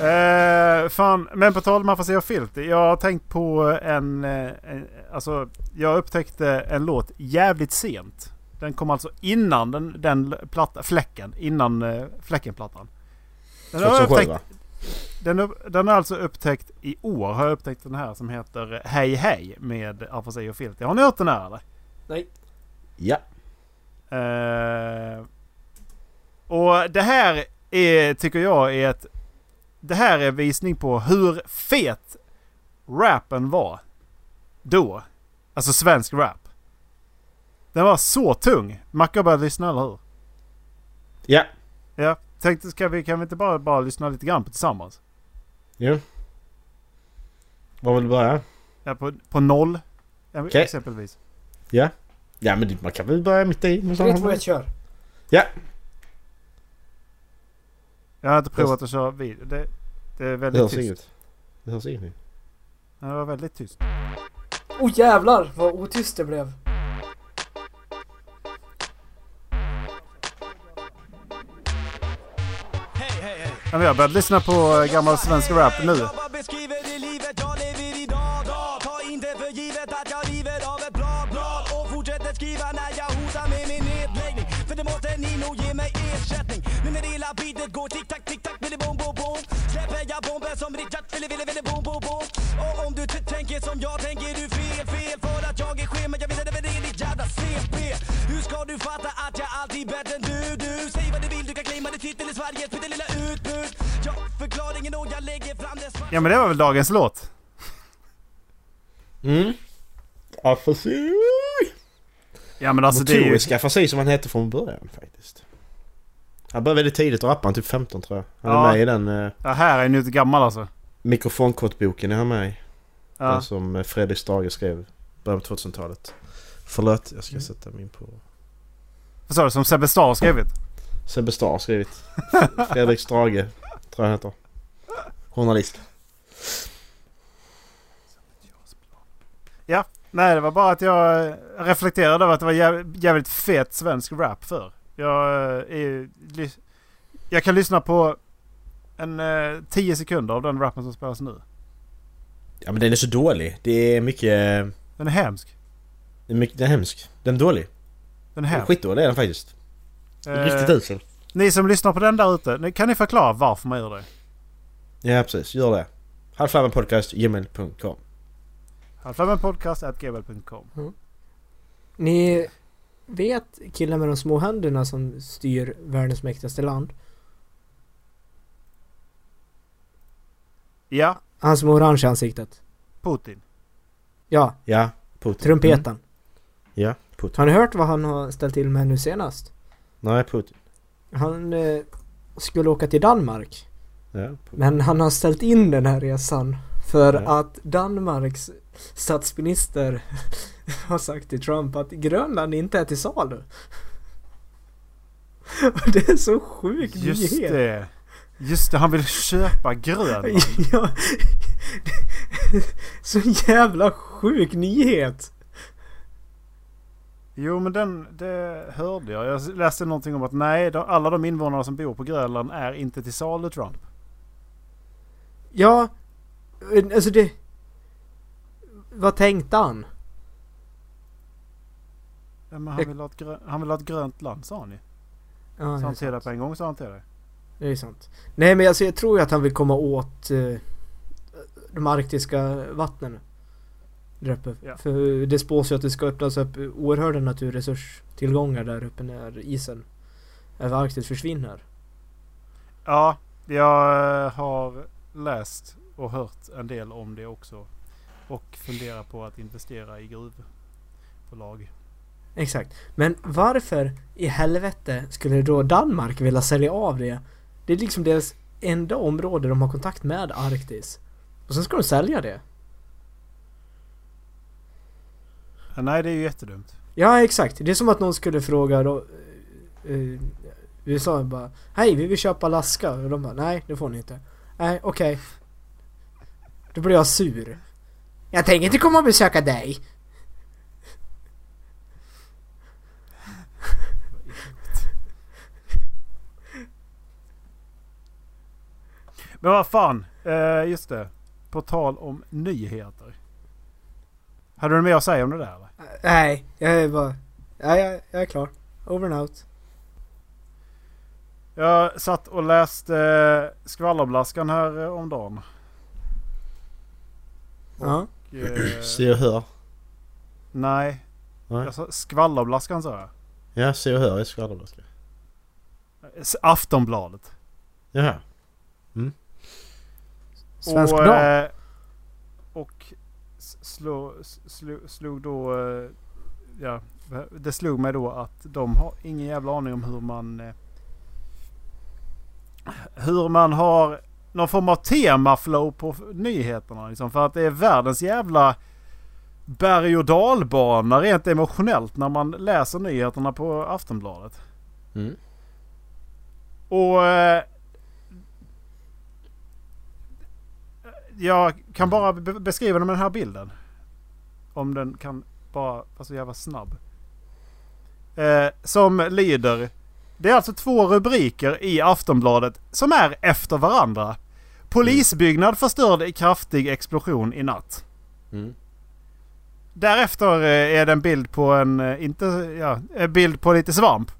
[SPEAKER 1] Eh, fan, men på tal om afasi och filt. Jag har tänkt på en, eh, en... Alltså, jag upptäckte en låt jävligt sent. Den kom alltså innan den, den platta, fläcken. Innan eh, fläckenplattan. Den har jag
[SPEAKER 2] 2007
[SPEAKER 1] upptäckt
[SPEAKER 2] va?
[SPEAKER 1] Den, upp- den har alltså upptäckt i år, har jag upptäckt den här som heter Hej Hej med afasi och filter. Har ni hört den här eller?
[SPEAKER 3] Nej.
[SPEAKER 2] Ja.
[SPEAKER 1] Eh, och det här är, tycker jag är ett... Det här är visning på hur fet rappen var då. Alltså svensk rap. Den var så tung. Macke har börjat lyssna, eller hur?
[SPEAKER 2] Ja.
[SPEAKER 1] Ja. Tänkte, ska vi, kan vi inte bara, bara lyssna lite grann på tillsammans?
[SPEAKER 2] Jo. Var vill du börja?
[SPEAKER 1] Ja, på, på noll. ja,
[SPEAKER 2] Okej.
[SPEAKER 1] Exempelvis.
[SPEAKER 2] Ja. Ja men det- man kan väl börja mitt i. med sådana
[SPEAKER 3] Vet du vad jag kör?
[SPEAKER 2] Ja.
[SPEAKER 1] Jag har inte provat att köra video. Det, det är
[SPEAKER 2] Det
[SPEAKER 1] väldigt
[SPEAKER 2] hörs
[SPEAKER 1] tyst.
[SPEAKER 2] inget. Det hörs ingenting.
[SPEAKER 1] Ja, Det var väldigt tyst.
[SPEAKER 3] Oh jävlar vad otyst det blev.
[SPEAKER 1] Ja, men jag har börjat lyssna på eh, gammal svensk rap nu.
[SPEAKER 8] Jag bara beskriver det livet jag lever idag dag. Ta inte för givet att jag river av ett blad blad och fortsätter skriva när jag hotar med min nedläggning. För det måste ni nog ge mig ersättning. Nu när hela beatet går tick tack tick tack billy bom bom bom släpper jag bomben som Richard ville ville ville bom bom bom. Och om du t- tänker som jag tänker du fel fel för att jag är skev men jag vill sätta dig i ditt jävla CP. Hur ska du fatta att jag alltid är bättre än du du? Säg vad du vill du kan claima din titel i Sveriges pyttelilla utbud. Jag förklaringen och jag lägger fram det svart.
[SPEAKER 1] Ja men det var väl dagens låt?
[SPEAKER 2] Afasi!
[SPEAKER 1] Ja men alltså det är ju...
[SPEAKER 2] Motorisk afasi som han hette från början faktiskt. Han började väldigt tidigt att rappa, han typ 15 tror jag. Han är
[SPEAKER 1] Ja.
[SPEAKER 2] med i den eh,
[SPEAKER 1] Ja, här är ju inte gammal alltså.
[SPEAKER 2] mikrofonkortboken är han med i. Den
[SPEAKER 1] Ja.
[SPEAKER 2] som eh, Fredrik Strage skrev i början på 2000-talet. Förlåt, jag
[SPEAKER 1] Mm.
[SPEAKER 2] ska sätta min på...
[SPEAKER 1] Vad sa du? Som Sebbe Starr skrivit?
[SPEAKER 2] Sebbe Starr har skrivit. F- Fredrik Strage, tror jag han heter. Journalist.
[SPEAKER 1] Ja. Nej det var bara att jag eh, reflekterade över att det var jäv- jävligt fet svensk rap för. Jag eh, är ju... ly- Jag kan lyssna på en eh, 10 sekunder av den rappen som spelas nu.
[SPEAKER 2] Ja men den är så dålig. Det är mycket...
[SPEAKER 1] Den är hemsk.
[SPEAKER 2] Det är mycket den är hemsk. Den är dålig.
[SPEAKER 1] Den är
[SPEAKER 2] Den är
[SPEAKER 1] hemsk.
[SPEAKER 2] skitdålig är den faktiskt. Riktigt
[SPEAKER 1] Eh,
[SPEAKER 2] usel.
[SPEAKER 1] ni som lyssnar på den där ute, ni- kan ni förklara varför man gör det?
[SPEAKER 2] Ja precis, gör det. Halvflammenpodcastgmail.com
[SPEAKER 1] Halvfemmenpodcast.gmail.com
[SPEAKER 3] Ni vet killen med de små händerna som styr världens mäktigaste land?
[SPEAKER 1] Ja,
[SPEAKER 3] Han som har orange i ansiktet.
[SPEAKER 1] Putin.
[SPEAKER 3] Ja,
[SPEAKER 2] Ja, Putin. Mm.
[SPEAKER 3] trumpeten.
[SPEAKER 2] Ja, Putin.
[SPEAKER 3] Har ni hört vad han har ställt till med nu senast?
[SPEAKER 2] Nej, Putin.
[SPEAKER 3] Han eh, skulle åka till Danmark.
[SPEAKER 2] Ja, Putin.
[SPEAKER 3] Men han har ställt in den här resan. För
[SPEAKER 2] Ja.
[SPEAKER 3] att Danmarks statsminister har sagt till Trump att Grönland inte är till salu. Och det är så sjuk
[SPEAKER 1] Just
[SPEAKER 3] nyhet.
[SPEAKER 1] det. Just det, han vill köpa grön.
[SPEAKER 3] Ja, så jävla sjuk nyhet!
[SPEAKER 1] Jo men den det hörde jag. Jag läste någonting om att nej, de, alla de invånare som bor på Grönland är inte till salu Trump.
[SPEAKER 3] Ja, eh, alltså det... Vad tänkte han?
[SPEAKER 1] Ja, Men han, vill ha ett grö, han vill ha ett grönt land sa han ju.
[SPEAKER 3] Ja,
[SPEAKER 1] Sa han
[SPEAKER 3] det,
[SPEAKER 1] till dig på en gång sa han till dig.
[SPEAKER 3] det är sant. Nej men alltså jag tror ju att han vill komma åt eh, de arktiska vattnen. Där uppe.
[SPEAKER 1] Ja.
[SPEAKER 3] För det spås ju att det ska öppnas upp oerhörda naturresurstillgångar där uppe när isen över Arktis försvinner.
[SPEAKER 1] Ja, jag eh, har läst och hört en del om det också. Och funderar på att investera i gruvbolag.
[SPEAKER 3] Exakt. Men varför i helvete skulle då Danmark vilja sälja av det? Det är liksom deras enda område de har kontakt med Arktis. Och sen ska de sälja det.
[SPEAKER 1] Ja, nej, det är ju jättedumt.
[SPEAKER 3] Ja, exakt. Det är som att någon skulle fråga då... Uh, USA bara Hej, vi vill köpa Alaska. Och de bara Nej, det får ni inte. Nej, okej. Då blir jag sur. Jag tänker inte komma och besöka dig.
[SPEAKER 1] Men vad fan, eh, just det. På tal om nyheter. Hade du mer att säga om det där eller?
[SPEAKER 3] Eh, Nej, jag är bara... Nej, jag, jag är klar. Over and out.
[SPEAKER 1] Jag satt och läste eh, Skvallerblaskan här eh, om dagen.
[SPEAKER 3] Ja.
[SPEAKER 1] Och, eh,
[SPEAKER 2] Se och hör.
[SPEAKER 1] nej,
[SPEAKER 2] Nej.
[SPEAKER 1] jag sa Skvallerblaskan sa jag.
[SPEAKER 2] Ja, se och hör är skvallerblaska.
[SPEAKER 1] S- Aftonbladet.
[SPEAKER 2] Jaha.
[SPEAKER 3] Svensk
[SPEAKER 1] och,
[SPEAKER 3] Dag.
[SPEAKER 1] eh, och s- slå, s- slog, slog då... eh, Ja, det slog mig då att de har ingen jävla aning om hur man... eh, Hur man har någon form av temaflow på f- nyheterna. Liksom, för att det är världens jävla berg och dalbana rent emotionellt när man läser nyheterna på Aftonbladet.
[SPEAKER 2] Mm.
[SPEAKER 1] Och... eh, Jag kan bara be- beskriva den med den här bilden. Om den kan bara vara så jävla snabb. Eh, som lyder... Det är alltså två rubriker i Aftonbladet som är efter varandra. Polisbyggnad förstörd i kraftig explosion i natt.
[SPEAKER 2] Mm.
[SPEAKER 1] Därefter eh, är det en bild på en... eh, Inte, ja, en bild på lite svamp.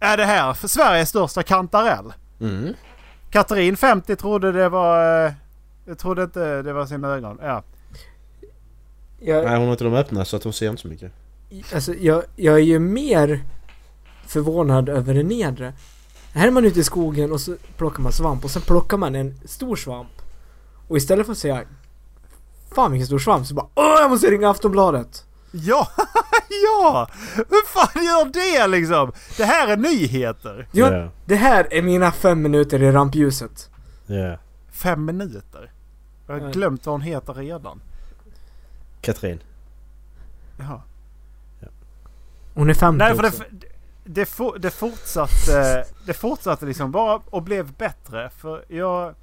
[SPEAKER 1] Är det här för Sveriges största kantarell?
[SPEAKER 2] Mm.
[SPEAKER 1] Katarin 50 trodde det var... eh, Jag trodde inte det var sina ögon. Ja.
[SPEAKER 3] Jag,
[SPEAKER 2] Nej, hon har inte de öppna så att hon ser inte så mycket.
[SPEAKER 3] Alltså jag, jag är ju mer förvånad över det nedre. Här är man ute i skogen och så plockar man svamp och sen plockar man en stor svamp. Och istället för att säga Fan vilken stor svamp så bara Åh jag måste ringa Aftonbladet!
[SPEAKER 1] Ja! ja! Hur fan gör det liksom? Det här är nyheter!
[SPEAKER 3] Ja,
[SPEAKER 2] Ja.
[SPEAKER 3] Det här är mina fem minuter i rampljuset.
[SPEAKER 2] Ja.
[SPEAKER 1] Fem minuter. Jag har
[SPEAKER 3] Nej.
[SPEAKER 1] glömt vad hon heter redan.
[SPEAKER 2] Katrin.
[SPEAKER 1] Jaha.
[SPEAKER 3] Hon är 50
[SPEAKER 1] Nej, för det,
[SPEAKER 3] också.
[SPEAKER 1] det, for, det fortsatte... Det fortsatte liksom bara och blev bättre. För jag...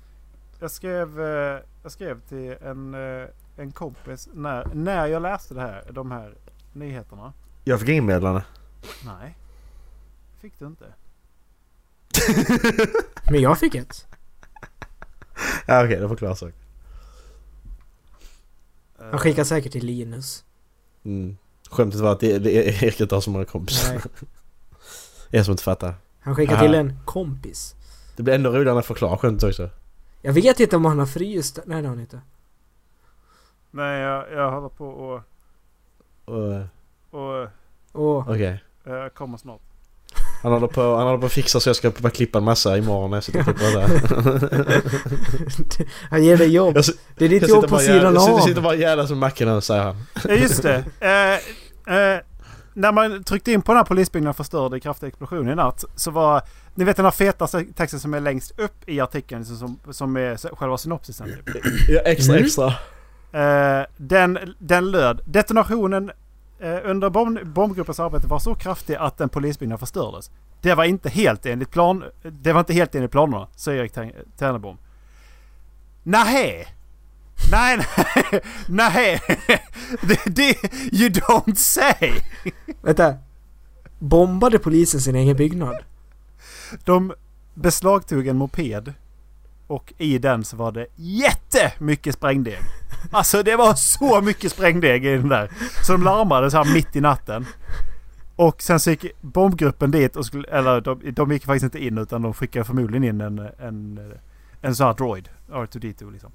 [SPEAKER 1] Jag skrev, eh, jag skrev till en, eh, en kompis när, när jag läste det här, de här nyheterna.
[SPEAKER 2] Jag fick inmedlande.
[SPEAKER 1] Nej. Fick du inte.
[SPEAKER 3] Men jag fick ett.
[SPEAKER 2] Ja, okej, det förklarar saker.
[SPEAKER 1] Eh.
[SPEAKER 3] Han skickar säkert till Linus.
[SPEAKER 2] Mm. Skämtet var att det, det, Erik inte har så många kompisar.
[SPEAKER 3] Nej,
[SPEAKER 2] Jag som inte fattar.
[SPEAKER 3] han skickar till en kompis.
[SPEAKER 2] Det blir ändå roligare när jag förklarar skämtet också.
[SPEAKER 3] Jag vet inte om han har fryst... Nej det har han inte.
[SPEAKER 1] Nej, jag, jag håller på och...
[SPEAKER 2] Och, eh,
[SPEAKER 1] och
[SPEAKER 3] Åh.
[SPEAKER 2] Okej.
[SPEAKER 1] eh, jag kommer snart.
[SPEAKER 2] Han håller på, han håller på att fixa så jag ska bara klippa en massa imorgon när jag sitter och klipper där.
[SPEAKER 3] Han ger dig jobb.
[SPEAKER 2] Jag, sit-
[SPEAKER 3] Det är ditt
[SPEAKER 2] jag
[SPEAKER 3] jobb
[SPEAKER 2] sitter
[SPEAKER 3] på
[SPEAKER 2] bara jävla-
[SPEAKER 3] sidan
[SPEAKER 2] jag sitter-
[SPEAKER 3] av.
[SPEAKER 2] jag sitter bara och jävlas med mackorna säger han.
[SPEAKER 1] Ja, just det. Eh, eh, när man tryckte in på den här polisbyggnaden förstörde i kraftig explosion i natt så var... Ni vet den här feta texten som är längst upp i artikeln liksom, som, som är själva synopsisen. Typ.
[SPEAKER 2] Ja, extra extra.
[SPEAKER 1] Eh, den, den löd. Detonationen eh, under bomb, bombgruppens arbete var så kraftig att en polisbyggnad förstördes. Det var inte helt enligt plan... Det var inte helt enligt planerna, säger Erik Tern- Ternebom. Nähä! Nej, nej, nej. Det, det, you don't say!
[SPEAKER 3] Vänta. Bombade polisen sin egen byggnad?
[SPEAKER 1] De beslagtog en moped. Och i den så var det jättemycket sprängdeg. Alltså det var så mycket sprängdeg i den där. Så de larmade så här mitt i natten. Och sen så gick bombgruppen dit och skulle, eller de, de gick faktiskt inte in utan de skickade förmodligen in en, en, en sån här droid. R2D2 liksom.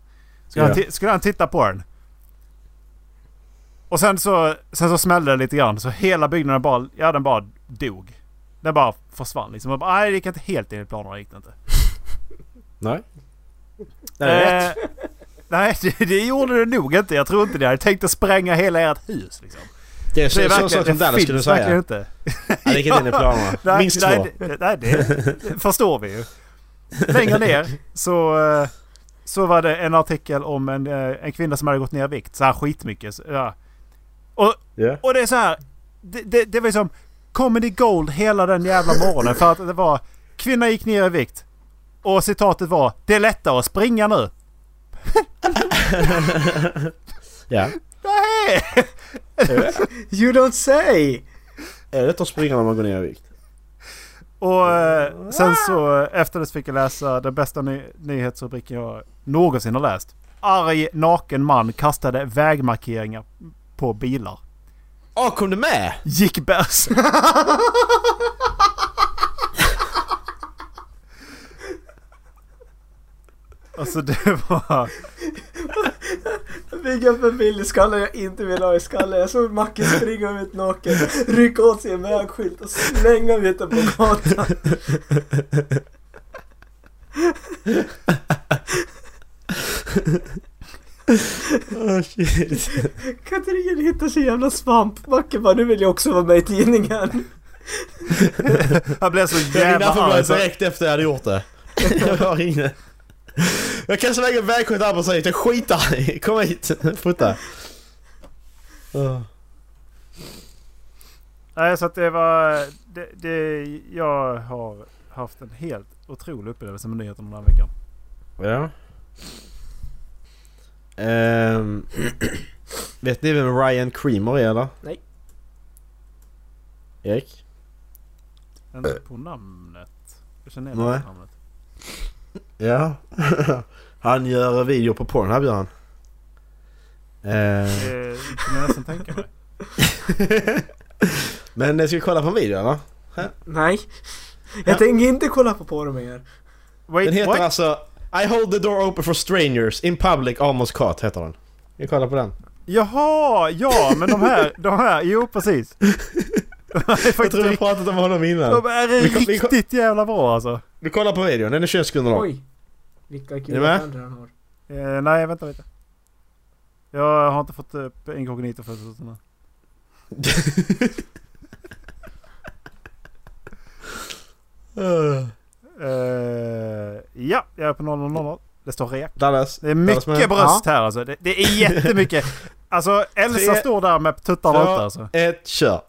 [SPEAKER 1] Skulle, han, ti- skulle han titta på den? Och sen så, sen så smällde det lite grann så hela byggnaden bara, ja den bara dog. Den bara försvann liksom. Jag bara, nej det gick inte helt enligt planerna gick det inte.
[SPEAKER 2] Nej. Nej, det är rätt.
[SPEAKER 1] Eh, nej det, det gjorde det nog inte. Jag tror inte det. Jag tänkte spränga hela ert hus liksom.
[SPEAKER 2] Det är så,
[SPEAKER 1] det
[SPEAKER 2] det
[SPEAKER 1] är
[SPEAKER 2] sån
[SPEAKER 1] verkligen,
[SPEAKER 2] sak som
[SPEAKER 1] det
[SPEAKER 2] Dallas skulle
[SPEAKER 1] finns verkligen
[SPEAKER 2] säga.
[SPEAKER 1] inte.
[SPEAKER 2] Ja, det gick inte in i planerna.
[SPEAKER 1] Nej,
[SPEAKER 2] Minst två.
[SPEAKER 1] nej, det- nej, det, det förstår vi ju. Längre ner så, eh, så var det en artikel om en, eh, en kvinna som hade gått ner i vikt. Så här skitmycket. Så, ja. och,
[SPEAKER 2] Ja.
[SPEAKER 1] och det är så här. Det, det, det var ju som Comedy Gold hela den jävla morgonen. För att det var kvinna gick ner i vikt. Och citatet var det är lättare att springa nu.
[SPEAKER 2] ja.
[SPEAKER 1] Nej!
[SPEAKER 3] You don't say!
[SPEAKER 2] Är det lätt att springa när man går ner i vikt?
[SPEAKER 1] Och eh, sen så eh, efter det så fick jag läsa den bästa ny- nyhetsrubriken jag någonsin har läst. Arg naken man kastade vägmarkeringar på bilar.
[SPEAKER 2] Åh, kom du med?
[SPEAKER 1] Gick bärs. alltså det var...
[SPEAKER 3] Bygga upp en bild i skallen jag inte vill ha i skallen. Jag såg Macke springa ut naken, rycka åt sig en vägskylt och slänga ut den på gatan.
[SPEAKER 2] Åh, Oh, shit.
[SPEAKER 3] Katrin hittar sin jävla svamp. Macke bara, nu vill jag också vara med i tidningen.
[SPEAKER 1] Jag blev så
[SPEAKER 2] Jag ringde
[SPEAKER 1] jävla arg.
[SPEAKER 2] Aftonbladet
[SPEAKER 1] så-
[SPEAKER 2] direkt efter jag hade gjort det. jag ringde. Jag kastade iväg en vägskylt där och sa jag skitar i. Kom hit, fota. Åh.
[SPEAKER 1] Nej, så att det var... Det, det, jag har haft en helt otrolig upplevelse med nyheterna den här veckan.
[SPEAKER 2] Ja. Ehm, vet ni vem Ryan Creamer är eller?
[SPEAKER 3] Nej.
[SPEAKER 2] Erik?
[SPEAKER 1] Inte på namnet. Jag känner igen
[SPEAKER 2] Nej.
[SPEAKER 1] det namnet.
[SPEAKER 2] Ja. han gör video på Pornhub gör han. Ehm,
[SPEAKER 1] Det kan jag nästan tänka mig.
[SPEAKER 2] men eh, ska vi kolla på en video eller?
[SPEAKER 3] Nej. Jag tänker inte kolla på porr mer.
[SPEAKER 1] Wait,
[SPEAKER 2] Den heter
[SPEAKER 1] what?
[SPEAKER 2] alltså I hold the door open for strangers in public almost caught heter den. Vi kollar på den.
[SPEAKER 1] Jaha, ja men de här, de här, jo precis. De här är
[SPEAKER 2] Jag tror
[SPEAKER 1] faktiskt
[SPEAKER 2] vi
[SPEAKER 1] rikt,
[SPEAKER 2] pratat om honom
[SPEAKER 1] de
[SPEAKER 2] innan.
[SPEAKER 1] här
[SPEAKER 2] Vi kom-
[SPEAKER 1] är
[SPEAKER 2] vi kom-
[SPEAKER 1] riktigt jävla bra alltså.
[SPEAKER 2] Vi kollar på videon, den är 20 sekunder lång.
[SPEAKER 3] Oj. Vilka
[SPEAKER 2] Är
[SPEAKER 3] kul
[SPEAKER 2] du med?
[SPEAKER 3] tänder han har.
[SPEAKER 1] Eh, nej, vänta lite. Jag har inte fått upp inkognito först. utan det.
[SPEAKER 2] Eh,
[SPEAKER 1] Eh, ja, jag är på 000. Det står rek.
[SPEAKER 2] Dallas.
[SPEAKER 1] Det är
[SPEAKER 2] Dallas med-
[SPEAKER 1] mycket bröst här alltså. Det, det är jättemycket. Alltså Elsa
[SPEAKER 2] Tre,
[SPEAKER 1] står där med tuttarna
[SPEAKER 2] två,
[SPEAKER 1] ute alltså.
[SPEAKER 2] Ett, Eh, kör.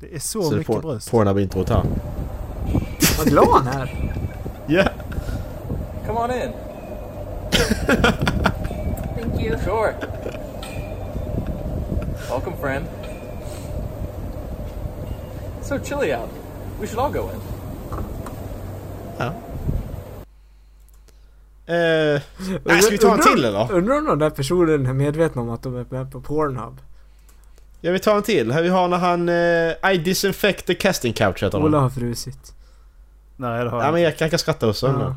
[SPEAKER 1] Det är så,
[SPEAKER 2] Så det
[SPEAKER 1] mycket
[SPEAKER 2] får,
[SPEAKER 1] bröst.
[SPEAKER 2] får den här introt här.
[SPEAKER 3] Vad glad han är.
[SPEAKER 2] Ja!
[SPEAKER 7] Come on in.
[SPEAKER 9] Thank you.
[SPEAKER 7] Sure. Welcome, friend. It's so chilly out. We should all go in.
[SPEAKER 2] Eh, nej, ska vi ta en till eller?
[SPEAKER 3] Undrar om den där personen är medveten om att de är med på Pornhub.
[SPEAKER 2] Ja vi tar en till. Här vi har när han... eh, I disinfect the casting couch heter
[SPEAKER 3] Ola
[SPEAKER 2] den.
[SPEAKER 3] har frusit.
[SPEAKER 1] Nej, det har
[SPEAKER 2] Ja
[SPEAKER 1] jag inte.
[SPEAKER 2] men jag kan, kan skratta hos honom.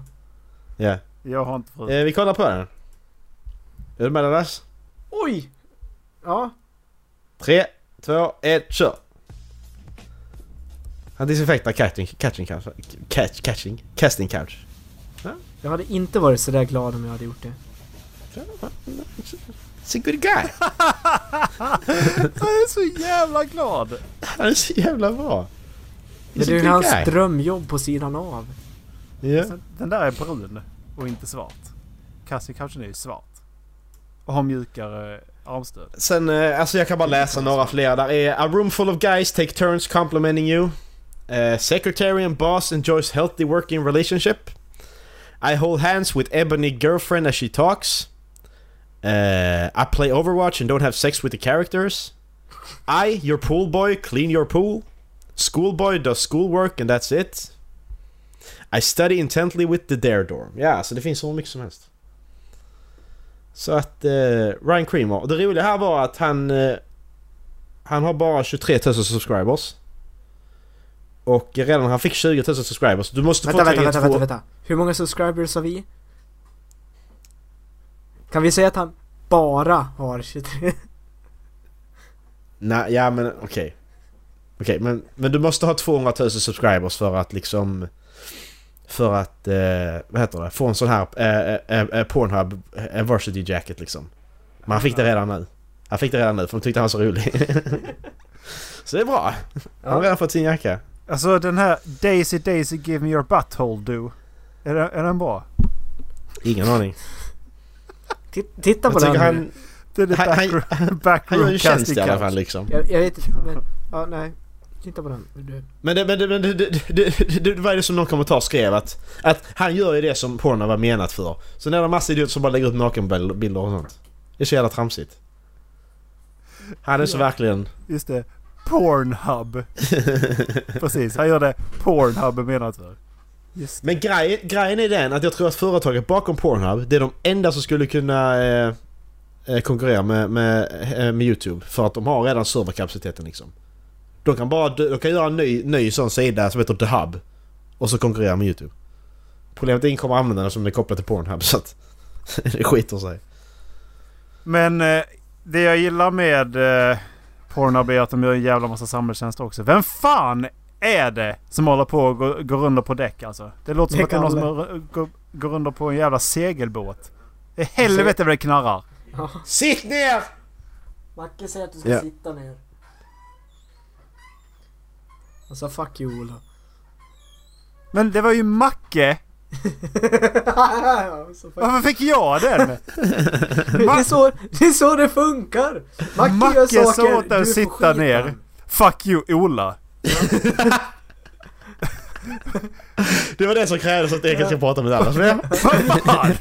[SPEAKER 2] Ja.
[SPEAKER 1] Jag har inte fått.
[SPEAKER 2] Eh, Vi kollar på den. Är du med Dallas?
[SPEAKER 3] Oj! Ja.
[SPEAKER 2] Tre, två, ett, kör! Han disinfektar catching, catching couch. Catch, catching, casting couch.
[SPEAKER 3] Jag hade inte varit sådär glad om jag hade gjort det.
[SPEAKER 2] He's a good guy.
[SPEAKER 1] Jag är så jävla glad.
[SPEAKER 2] Han är så jävla bra.
[SPEAKER 3] Men det är ju hans drömjobb på sidan av.
[SPEAKER 2] Ja.
[SPEAKER 1] Sen- Den där är brun och inte svart. Cassie Couchen är ju svart. Och har mjukare armstöd.
[SPEAKER 2] Sen, eh, alltså jag kan bara läsa några fler. Där är A room full of guys take turns complimenting you. Eh, secretary and boss enjoys healthy working relationship. I hold hands with ebony girlfriend Uh, as she talks. Eh, I play Overwatch and don't have sex with the characters. I, your pool boy, clean your pool. Schoolboy does schoolwork and that's it. I study intently with the dare dorm. Ja, alltså det finns så mycket som helst. Så att eh, Ryan Creamer. Det roliga här var att han... Eh, han har bara 23 000 subscribers. Och redan när han fick 20 000 subscribers. Du måste
[SPEAKER 3] Vänta,
[SPEAKER 2] få
[SPEAKER 3] vänta,
[SPEAKER 2] tag i
[SPEAKER 3] vänta,
[SPEAKER 2] två-
[SPEAKER 3] vänta, vänta. Hur många subscribers har vi? Kan vi säga att han bara har 23?
[SPEAKER 2] Nej, ja men okej. Okej, men, men du måste ha 200 000 subscribers för att liksom... För att, eh, vad heter det, få en sån här eh, eh, eh, Pornhub eh, varsity jacket liksom. Men han fick det redan nu. Han fick det redan nu för de tyckte han var så rolig. så det är bra. Han har redan fått sin jacka.
[SPEAKER 1] Alltså den här Daisy Daisy Give Me Your Butthole Do. Är den, är den bra?
[SPEAKER 2] Ingen aning.
[SPEAKER 3] Titt- Titta på
[SPEAKER 2] Jag
[SPEAKER 3] den.
[SPEAKER 2] tycker han,
[SPEAKER 1] Den är
[SPEAKER 2] Han- han-
[SPEAKER 1] backroom,
[SPEAKER 2] han gör
[SPEAKER 1] backroom
[SPEAKER 2] en tjänst
[SPEAKER 1] casting
[SPEAKER 2] i alla
[SPEAKER 1] couch.
[SPEAKER 2] fall liksom.
[SPEAKER 3] Jag, jag vet inte, men... Ja, nej. Titta på den. Du.
[SPEAKER 2] Men det, men det, men det, det, det, det, det var det som någon kommentar skrev att, att han gör ju det som porno var menat för. Så när det är en massa idioter som bara lägger ut nakenbilder och sånt. Det är så jävla tramsigt. Han är så verkligen...
[SPEAKER 1] Just det. Pornhub. Precis, han gör det Pornhub är menat för. Just det.
[SPEAKER 2] Men grej, grejen är den att jag tror att företaget bakom Pornhub, det är de enda som skulle kunna eh, eh, konkurrera med, med, eh, med YouTube. För att de har redan serverkapaciteten liksom. De kan bara de kan göra en ny, ny sån sida som heter The Hub. Och så konkurrera med YouTube. Problemet är att ingen kommer använda den som är kopplad till Pornhub så att det skiter sig.
[SPEAKER 1] Men eh, det jag gillar med eh, Pornhub är att de gör en jävla massa samhällstjänster också. Vem fan är det som håller på och går, går under på däck alltså? Det låter som
[SPEAKER 3] Det
[SPEAKER 1] att det är någon som
[SPEAKER 3] kan
[SPEAKER 1] går, går- går under på en jävla segelbåt. I helvete vad det knarrar.
[SPEAKER 2] Sitt ner!
[SPEAKER 3] Macke säger att du ska
[SPEAKER 2] Ja.
[SPEAKER 3] sitta ner. Alltså fuck you Ola.
[SPEAKER 1] Men det var ju Macke!
[SPEAKER 3] alltså, fuck.
[SPEAKER 1] Varför fick jag den?
[SPEAKER 3] Det, är så, det är så det funkar! Macke, gör
[SPEAKER 1] Macke
[SPEAKER 3] saker,
[SPEAKER 1] sa åt dig
[SPEAKER 3] du
[SPEAKER 1] att
[SPEAKER 3] får
[SPEAKER 1] sitta
[SPEAKER 3] skiten.
[SPEAKER 1] ner. Fuck you Ola.
[SPEAKER 2] Det var det som krävdes att Erik ska prata med Dallas. Men-
[SPEAKER 1] Vad fan?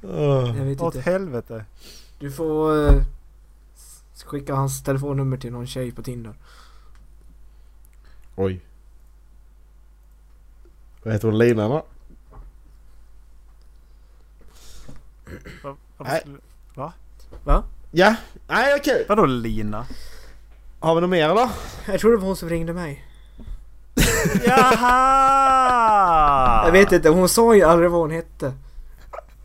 [SPEAKER 3] Jag vet
[SPEAKER 1] Åt
[SPEAKER 3] inte.
[SPEAKER 1] helvete.
[SPEAKER 3] Du får eh, s- skicka hans telefonnummer till någon tjej på Tinder.
[SPEAKER 2] Oj. Vad heter hon? Lina va?
[SPEAKER 1] Vad- vad
[SPEAKER 2] Nej.
[SPEAKER 1] skulle-
[SPEAKER 2] Ja. Nej okej.
[SPEAKER 1] Vadå Lina?
[SPEAKER 2] Har vi något mer eller?
[SPEAKER 3] Jag tror det var hon som ringde mig.
[SPEAKER 1] Jaha!
[SPEAKER 3] Jag vet inte, hon sa ju aldrig vad hon hette.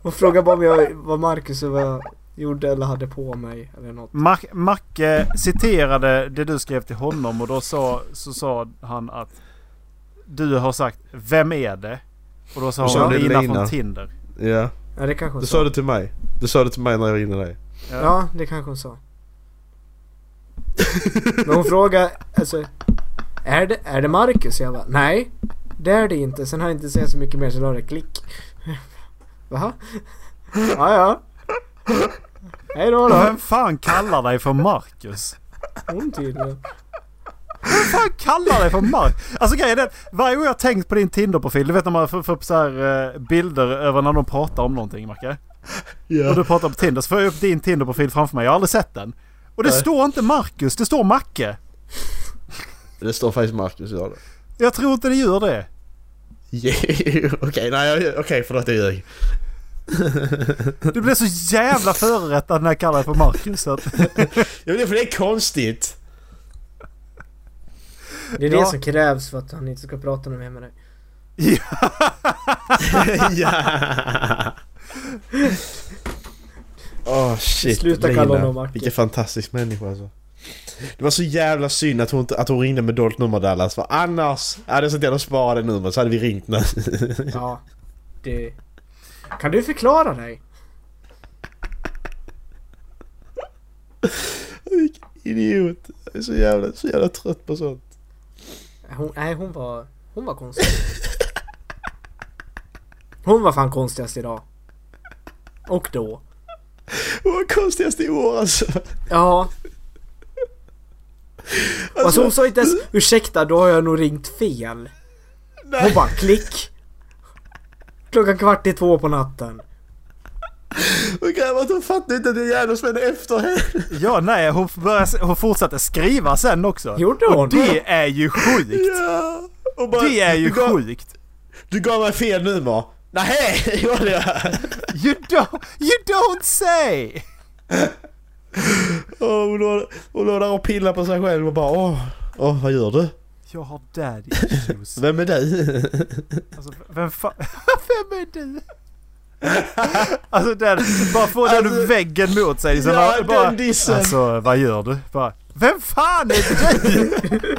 [SPEAKER 3] Hon frågade bara om jag var Marcus och vad jag gjorde eller hade på mig eller något.
[SPEAKER 1] Mac- Macke citerade det du skrev till honom och då sa, så sa han att du har sagt Vem är det? Och då
[SPEAKER 2] Och
[SPEAKER 1] sa
[SPEAKER 2] så
[SPEAKER 1] hon
[SPEAKER 2] är det
[SPEAKER 1] Lina
[SPEAKER 2] Lina.
[SPEAKER 1] från Tinder.
[SPEAKER 2] Ja.
[SPEAKER 3] Ja det kanske hon
[SPEAKER 2] Det
[SPEAKER 3] sa.
[SPEAKER 2] sa du till mig. Det sa du till mig när jag ringde dig.
[SPEAKER 3] Ja det kanske hon sa. Men hon frågade alltså. Är det, är det Marcus? Jag bara nej. Det är det inte. Sen har jag inte sett så mycket mer så la det klick. Va? Ja ja. Hej då då.
[SPEAKER 1] Vem fan kallar dig för Marcus?
[SPEAKER 3] Hon tydligen.
[SPEAKER 1] Vem fan kallar dig för Marcus? Alltså grejen är att varje gång jag har tänkt på din Tinder-profil, du vet när man får får upp så här eh, bilder över när de pratar om någonting Macke? Och du pratar på Tinder så får jag upp din Tinder-profil framför mig, jag har aldrig sett den. Och det
[SPEAKER 2] Nej.
[SPEAKER 1] står inte Marcus, det står Macke.
[SPEAKER 2] Det står faktiskt Marcus gör det.
[SPEAKER 1] Jag tror inte det gör det.
[SPEAKER 2] Yeah. Okej, nej jag- okej förlåt jag ljög.
[SPEAKER 1] Du blev så jävla förorättad när jag kallade dig för Marcus. Så att,
[SPEAKER 2] Ja men det är för det är konstigt.
[SPEAKER 3] Det är det
[SPEAKER 1] Ja.
[SPEAKER 3] som krävs för att han inte ska prata mer med dig.
[SPEAKER 2] ja. Åh shit.
[SPEAKER 3] Sluta kalla
[SPEAKER 2] Lina.
[SPEAKER 3] honom Marcus.
[SPEAKER 2] Vilken fantastisk människa alltså. Det var så jävla synd att hon, inte- att hon ringde med dolt nummer Dallas för annars hade jag sett till att spara det numret så hade vi ringt nu.
[SPEAKER 3] Ja. Det... Kan du förklara dig?
[SPEAKER 2] Vilken idiot. Jag är så jävla, så jävla trött på sånt.
[SPEAKER 3] Hon, nej hon var... Hon var konstig. Hon var fan konstigast idag. Och då.
[SPEAKER 2] Hon var konstigast i år alltså.
[SPEAKER 3] Ja. Alltså hon sa inte ens ursäkta då har jag nog ringt fel. Hon bara klick. Klockan kvart i två på natten.
[SPEAKER 2] Och grabbar, de fattar inte att det är Järnåsmän efter henne.
[SPEAKER 1] Ja, nej, hon, började, hon fortsatte skriva sen också.
[SPEAKER 3] Gjorde hon?
[SPEAKER 1] Och det är ju sjukt!
[SPEAKER 2] Ja. Och bara,
[SPEAKER 1] Det är ju
[SPEAKER 2] du gav,
[SPEAKER 1] sjukt!
[SPEAKER 2] Du gav mig fel nummer. Nej, gjorde jag.
[SPEAKER 1] You don't, you don't say!
[SPEAKER 2] Och hon, låg, hon låg där och pillade på sig själv och bara åh, åh vad gör du?
[SPEAKER 1] Jag har daddy issues.
[SPEAKER 2] Vem är du?
[SPEAKER 1] Alltså, vem fan... Vem är du? Alltså den, bara får den
[SPEAKER 2] Alltså-
[SPEAKER 1] väggen mot sig. Så
[SPEAKER 2] Ja,
[SPEAKER 1] bara, bara,
[SPEAKER 2] den dissen.
[SPEAKER 1] Alltså vad gör du? Bara, vem fan är du?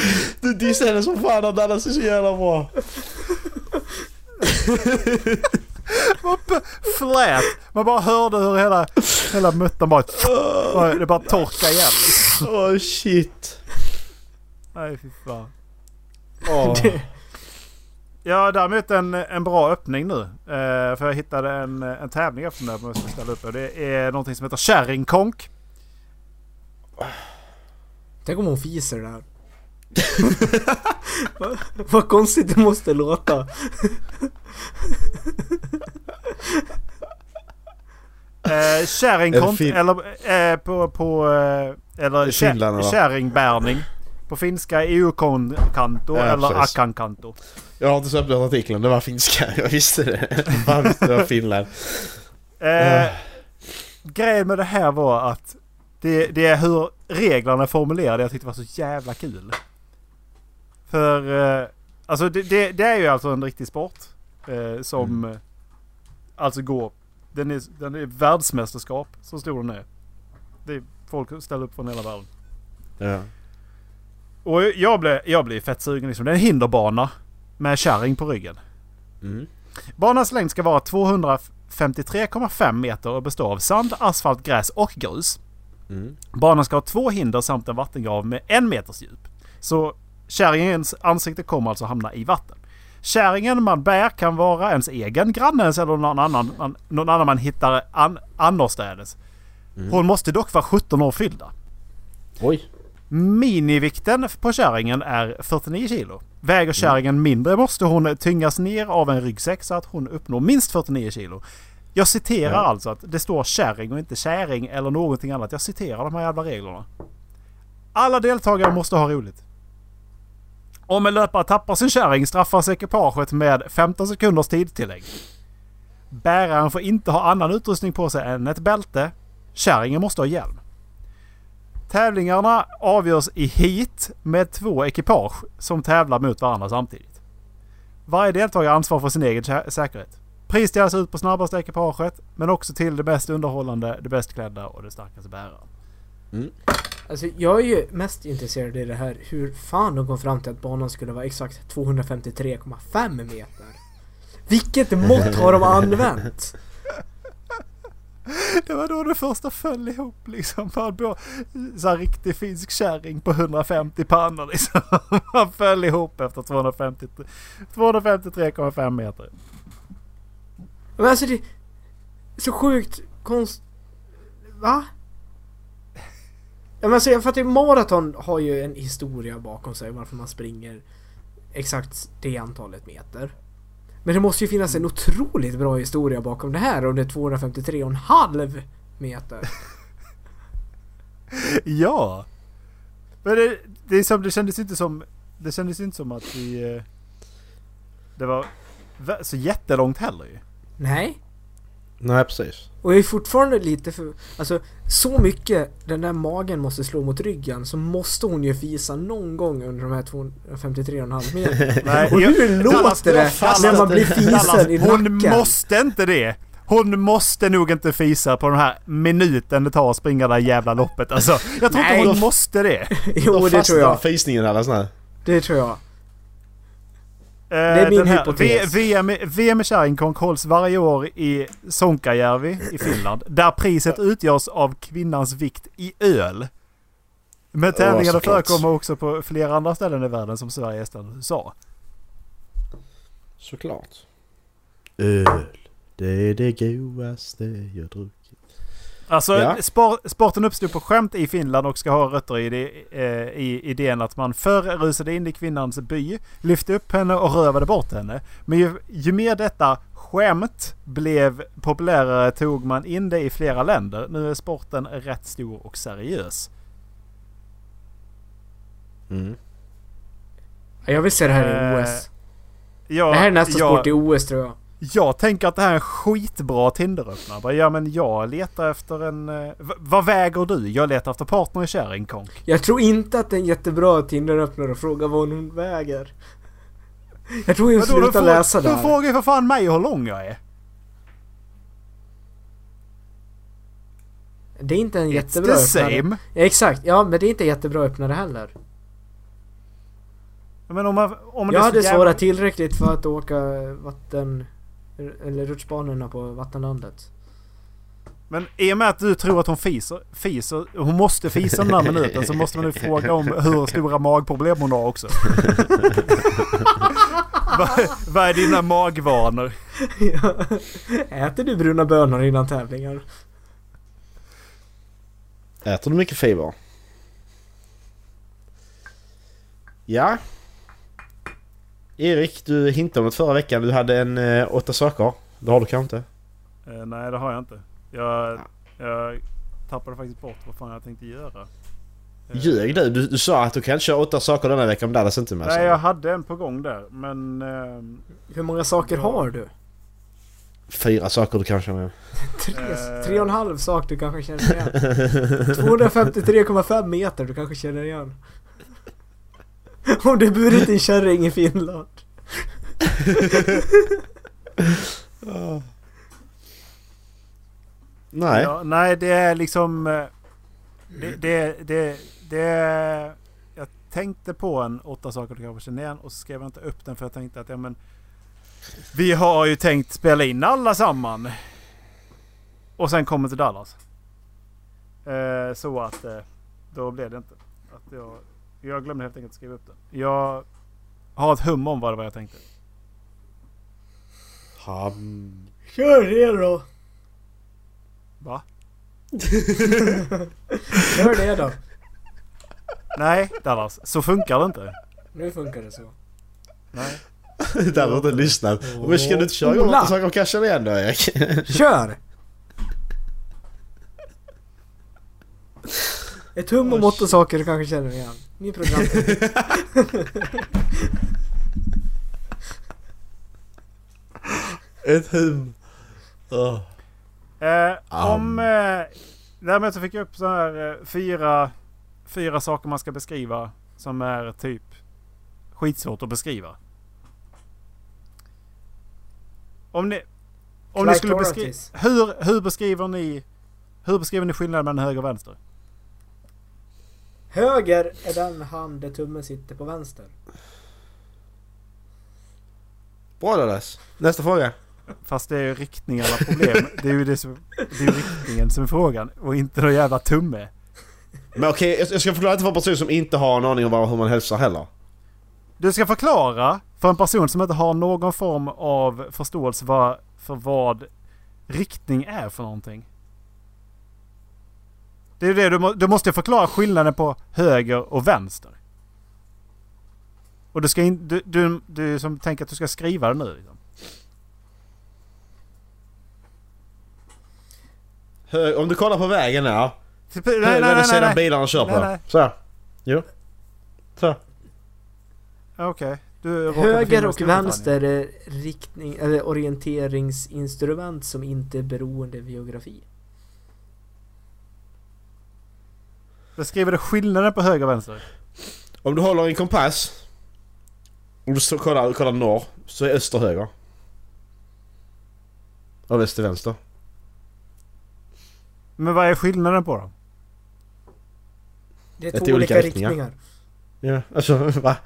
[SPEAKER 2] Du dissade henne som fan och Dallas är så jävla bra.
[SPEAKER 1] Flät! Man bara hörde hur hela, hela muttan bara... bara- Det bara torkade igen.
[SPEAKER 2] Åh shit.
[SPEAKER 1] Nej fy fan.
[SPEAKER 2] Åh.
[SPEAKER 1] Ja, däremot en, en bra öppning nu. Eh, för jag hittade en, en tävling efter den där som jag ska ställa upp. Och det är någonting som heter Kärringkonk.
[SPEAKER 3] Tänk om hon fiser där. vad, vad konstigt det måste låta.
[SPEAKER 1] Eh,
[SPEAKER 2] En
[SPEAKER 1] Kärringkonk
[SPEAKER 2] fin-
[SPEAKER 1] eller eh, på... på eh, eller
[SPEAKER 2] Finland,
[SPEAKER 1] kä-
[SPEAKER 2] eller?
[SPEAKER 1] kärringbärning. På finska EU-kanto
[SPEAKER 2] Ja,
[SPEAKER 1] eller
[SPEAKER 2] precis.
[SPEAKER 1] akankanto.
[SPEAKER 2] Jag har inte så öppnat artikeln, det var finska. Jag visste det. Jag visste det var Finland.
[SPEAKER 1] Eh, Grejen med det här var att det, det är hur reglerna är formulerade jag tyckte var så jävla kul. För eh, alltså det, det, det är ju alltså en riktig sport eh, som eh, alltså går. Den är, den är världsmästerskap så stor den är. Det är folk ställer upp från hela världen.
[SPEAKER 2] Ja.
[SPEAKER 1] Och jag blev, jag blev fett sugen liksom. Det är en hinderbana med kärring på ryggen.
[SPEAKER 2] Mm.
[SPEAKER 1] Banans längd ska vara 253,5 meter och bestå av sand, asfalt, gräs och grus.
[SPEAKER 2] Mm.
[SPEAKER 1] Banan ska ha två hinder samt en vattengrav med en meters djup. Så kärringens ansikte kommer alltså hamna i vatten. Kärringen man bär kan vara ens egen, grannens eller någon annan, an- någon annan man hittar an, annorstädes.
[SPEAKER 2] Mm.
[SPEAKER 1] Hon måste dock vara 17 år fyllda.
[SPEAKER 2] Oj.
[SPEAKER 1] Minivikten på kärringen är 49 kilo. Väger kärringen mindre måste hon tyngas ner av en ryggsäck så att hon uppnår minst 49 kilo. Jag citerar
[SPEAKER 2] Ja.
[SPEAKER 1] alltså att det står kärring och inte käring eller någonting annat. Jag citerar de här jävla reglerna. Alla deltagare måste ha roligt. Om en löpare tappar sin kärring straffas ekipaget med 15 sekunders tidstillägg. Bäraren får inte ha annan utrustning på sig än ett bälte. Kärringen måste ha hjälm. Tävlingarna avgörs i heat med två ekipage som tävlar mot varandra samtidigt. Varje deltagare ansvarar för sin egen kä- säkerhet. Pris delas ut på snabbaste ekipaget men också till det mest underhållande, det bäst klädda och det starkaste bäraren.
[SPEAKER 3] Alltså jag är ju mest intresserad i det här hur fan de kom fram till att banan skulle vara exakt 253,5 meter. Vilket mått har de använt?
[SPEAKER 1] Det var då det första föll ihop liksom. Man bara, så här riktig finsk kärring på 150 pannor liksom. Man föll ihop efter 250 253,5 meter.
[SPEAKER 3] Men alltså det... är Så sjukt konst... Va? Ja men alltså jag fattar ju, maraton har ju en historia bakom sig varför man springer exakt det antalet meter. Men det måste ju finnas en otroligt bra historia bakom det här och det är 253,5 meter.
[SPEAKER 1] Ja. Men det, det, är som, det kändes inte som... Det kändes inte som att vi... eh, Det var vä- så jättelångt heller ju.
[SPEAKER 3] Nej.
[SPEAKER 2] Nej precis.
[SPEAKER 3] Och jag är fortfarande lite för... Alltså, så mycket den där magen måste slå mot ryggen så måste hon ju fisa någon gång under de här 253,5 meterna.
[SPEAKER 1] Nej,
[SPEAKER 3] Och
[SPEAKER 1] jag-
[SPEAKER 3] hur
[SPEAKER 1] Dallas,
[SPEAKER 3] låter det
[SPEAKER 1] Dallas,
[SPEAKER 3] när man blir
[SPEAKER 1] Dallas,
[SPEAKER 3] fisen i
[SPEAKER 1] Hon
[SPEAKER 3] nacken?
[SPEAKER 1] måste inte det! Hon måste nog inte fisa på den här minuten det tar att springa det här jävla loppet alltså. Jag tror
[SPEAKER 3] Nej.
[SPEAKER 1] inte hon måste det.
[SPEAKER 3] Jo, det tror jag.
[SPEAKER 2] fisningen Dallas nu.
[SPEAKER 3] Det tror jag.
[SPEAKER 1] Det
[SPEAKER 3] är min hypotes.
[SPEAKER 1] VM, i- VM i kärringkonk hålls varje år i Sonkajärvi i Finland. Där priset utgörs av kvinnans vikt i öl. Men tävlingarna
[SPEAKER 2] såklart.
[SPEAKER 1] förekommer också på flera andra ställen i världen som Sverige, Estland och USA.
[SPEAKER 2] Såklart. Öl. Det är det godaste jag druckit.
[SPEAKER 1] Alltså
[SPEAKER 2] Ja.
[SPEAKER 1] spor, sporten uppstod på skämt i Finland och ska ha rötter i, det, eh, i idén att man förr rusade in i kvinnans by, lyfte upp henne och rövade bort henne. Men ju, ju mer detta sk- skämt blev populärare tog man in det i flera länder. Nu är sporten rätt stor och seriös.
[SPEAKER 2] Mm.
[SPEAKER 3] Jag vill se det här i
[SPEAKER 1] Eh,
[SPEAKER 3] OS.
[SPEAKER 1] Jag,
[SPEAKER 3] Det här är nästa
[SPEAKER 1] jag,
[SPEAKER 3] sport i OS tror jag.
[SPEAKER 1] Jag tänker att det här är en skitbra Tinderöppnare. Ja men jag letar efter en... eh, v- vad väger du? Jag letar efter partner i kärring, konk.
[SPEAKER 3] Jag tror inte att det är en jättebra Tinder-öppnare att fråga vad hon väger. Jag tror hon
[SPEAKER 1] Vadå, de
[SPEAKER 3] slutar
[SPEAKER 1] frå-
[SPEAKER 3] läsa det
[SPEAKER 1] De
[SPEAKER 3] här.
[SPEAKER 1] frågar ju för fan mig hur lång jag är.
[SPEAKER 3] Det är inte en jättebra
[SPEAKER 1] The
[SPEAKER 3] öppnare.
[SPEAKER 1] same.
[SPEAKER 3] Ja, Exakt, ja men det är inte en jättebra öppnare heller.
[SPEAKER 1] Men om man... Om det
[SPEAKER 3] Jag
[SPEAKER 1] är så
[SPEAKER 3] hade
[SPEAKER 1] jävla-
[SPEAKER 3] svarat tillräckligt för att åka vatten... Eller rutschbanorna på vattenlandet.
[SPEAKER 1] Men i och med att du tror att hon fiser, fiser hon måste fisa den här minuten så måste man nu fråga om hur stora magproblem hon har också. Vad vad är dina magvanor?
[SPEAKER 3] Äter du bruna bönor innan tävlingar?
[SPEAKER 2] Äter du mycket fiber? Ja. Erik, du hintade om det förra veckan. Du hade en eh, åtta saker. Det har du kanske inte?
[SPEAKER 1] Eh, nej det har jag inte. Jag, jag tappade faktiskt bort vad fan jag tänkte göra. Eh,
[SPEAKER 2] Ljög du? du? Du sa att du kan köra åtta saker denna veckan om Dallas inte är med.
[SPEAKER 1] Nej jag hade en på gång där men... ehm,
[SPEAKER 3] Hur många saker har du?
[SPEAKER 2] Fyra saker du kan köra med.
[SPEAKER 3] Tre,
[SPEAKER 1] Eh.
[SPEAKER 3] tre och en halv sak du kanske känner igen. 253,5 meter du kanske känner igen. Om du burit din kärring i Finland.
[SPEAKER 2] Nej.
[SPEAKER 1] Ja, nej, det är liksom... eh, Det, det, det, det är... Jag tänkte på en åtta saker du kanske känner igen och så skrev jag inte upp den för jag tänkte att ja men... Vi har ju tänkt spela in alla samman. Och sen kommer till Dallas. Eh, så att eh, då blev det inte. Att jag, jag glömde helt enkelt skriva upp den. Jag har ett hum om vad det var jag tänkte.
[SPEAKER 2] Ham.
[SPEAKER 3] Kör det då!
[SPEAKER 1] Va?
[SPEAKER 3] Kör det då!
[SPEAKER 1] Nej Dallas, så funkar det inte.
[SPEAKER 3] Nu funkar det så.
[SPEAKER 1] Nej.
[SPEAKER 2] Där har du inte lyssnat. Men ska du inte köra igång
[SPEAKER 3] Ola!
[SPEAKER 2] åtta saker och kanske känna igen då Erik?
[SPEAKER 3] Kör! Ett hum om åtta saker du kanske känner igen. Ny program.
[SPEAKER 2] Ett hum. Åh.
[SPEAKER 1] Eh,
[SPEAKER 2] Am.
[SPEAKER 1] Om... Eh, därmed så fick jag upp så här eh, fyra, fyra saker man ska beskriva som är typ skitsvårt att beskriva. Om ni, om ni skulle beskriva...
[SPEAKER 3] Clitoritis.
[SPEAKER 1] Hur, hur beskriver ni... Hur beskriver ni skillnaden mellan höger och vänster?
[SPEAKER 3] Höger är den hand där tummen sitter på vänster.
[SPEAKER 2] Bra Dallas. Nästa fråga.
[SPEAKER 1] Fast det är ju riktningarna problem. det är ju det som, det är ju riktningen som är frågan och inte någon jävla tumme.
[SPEAKER 2] Men okej, jag- jag ska förklara inte för en person som inte har en aning om vad- hur man hälsar heller.
[SPEAKER 1] Du ska förklara för en person som inte har någon form av förståelse vad, för vad riktning är för någonting. Det är ju det du, må, du måste förklara skillnaden på höger och vänster. Och du ska in, du, du, du som tänker att du ska skriva det nu. Liksom.
[SPEAKER 2] Hö- Om du kollar på vägen här.
[SPEAKER 1] Typ, Nej,
[SPEAKER 2] Nej,
[SPEAKER 1] nej, nej, nej,
[SPEAKER 2] sedan
[SPEAKER 1] nej.
[SPEAKER 2] bilarna kör på.
[SPEAKER 1] Nej, nej.
[SPEAKER 2] Så. här. Jo. Så. här.
[SPEAKER 1] Ah, Okej. Du råkar
[SPEAKER 3] Höger
[SPEAKER 1] befinna
[SPEAKER 3] och
[SPEAKER 1] dig i Storbritannien.
[SPEAKER 3] vänster är riktning, eller orienteringsinstrument som inte är beroende av geografi.
[SPEAKER 1] Beskriver du skillnaden på höger och vänster?
[SPEAKER 2] Om du håller i en kompass. Om du så kollar, kollar norr. Så är öster höger. Och väster vänster.
[SPEAKER 1] Men vad är skillnaden på dem?
[SPEAKER 3] Det är
[SPEAKER 2] Det
[SPEAKER 3] två
[SPEAKER 2] är
[SPEAKER 3] olika,
[SPEAKER 2] olika
[SPEAKER 3] riktningar.
[SPEAKER 2] riktningar. Ja, alltså va?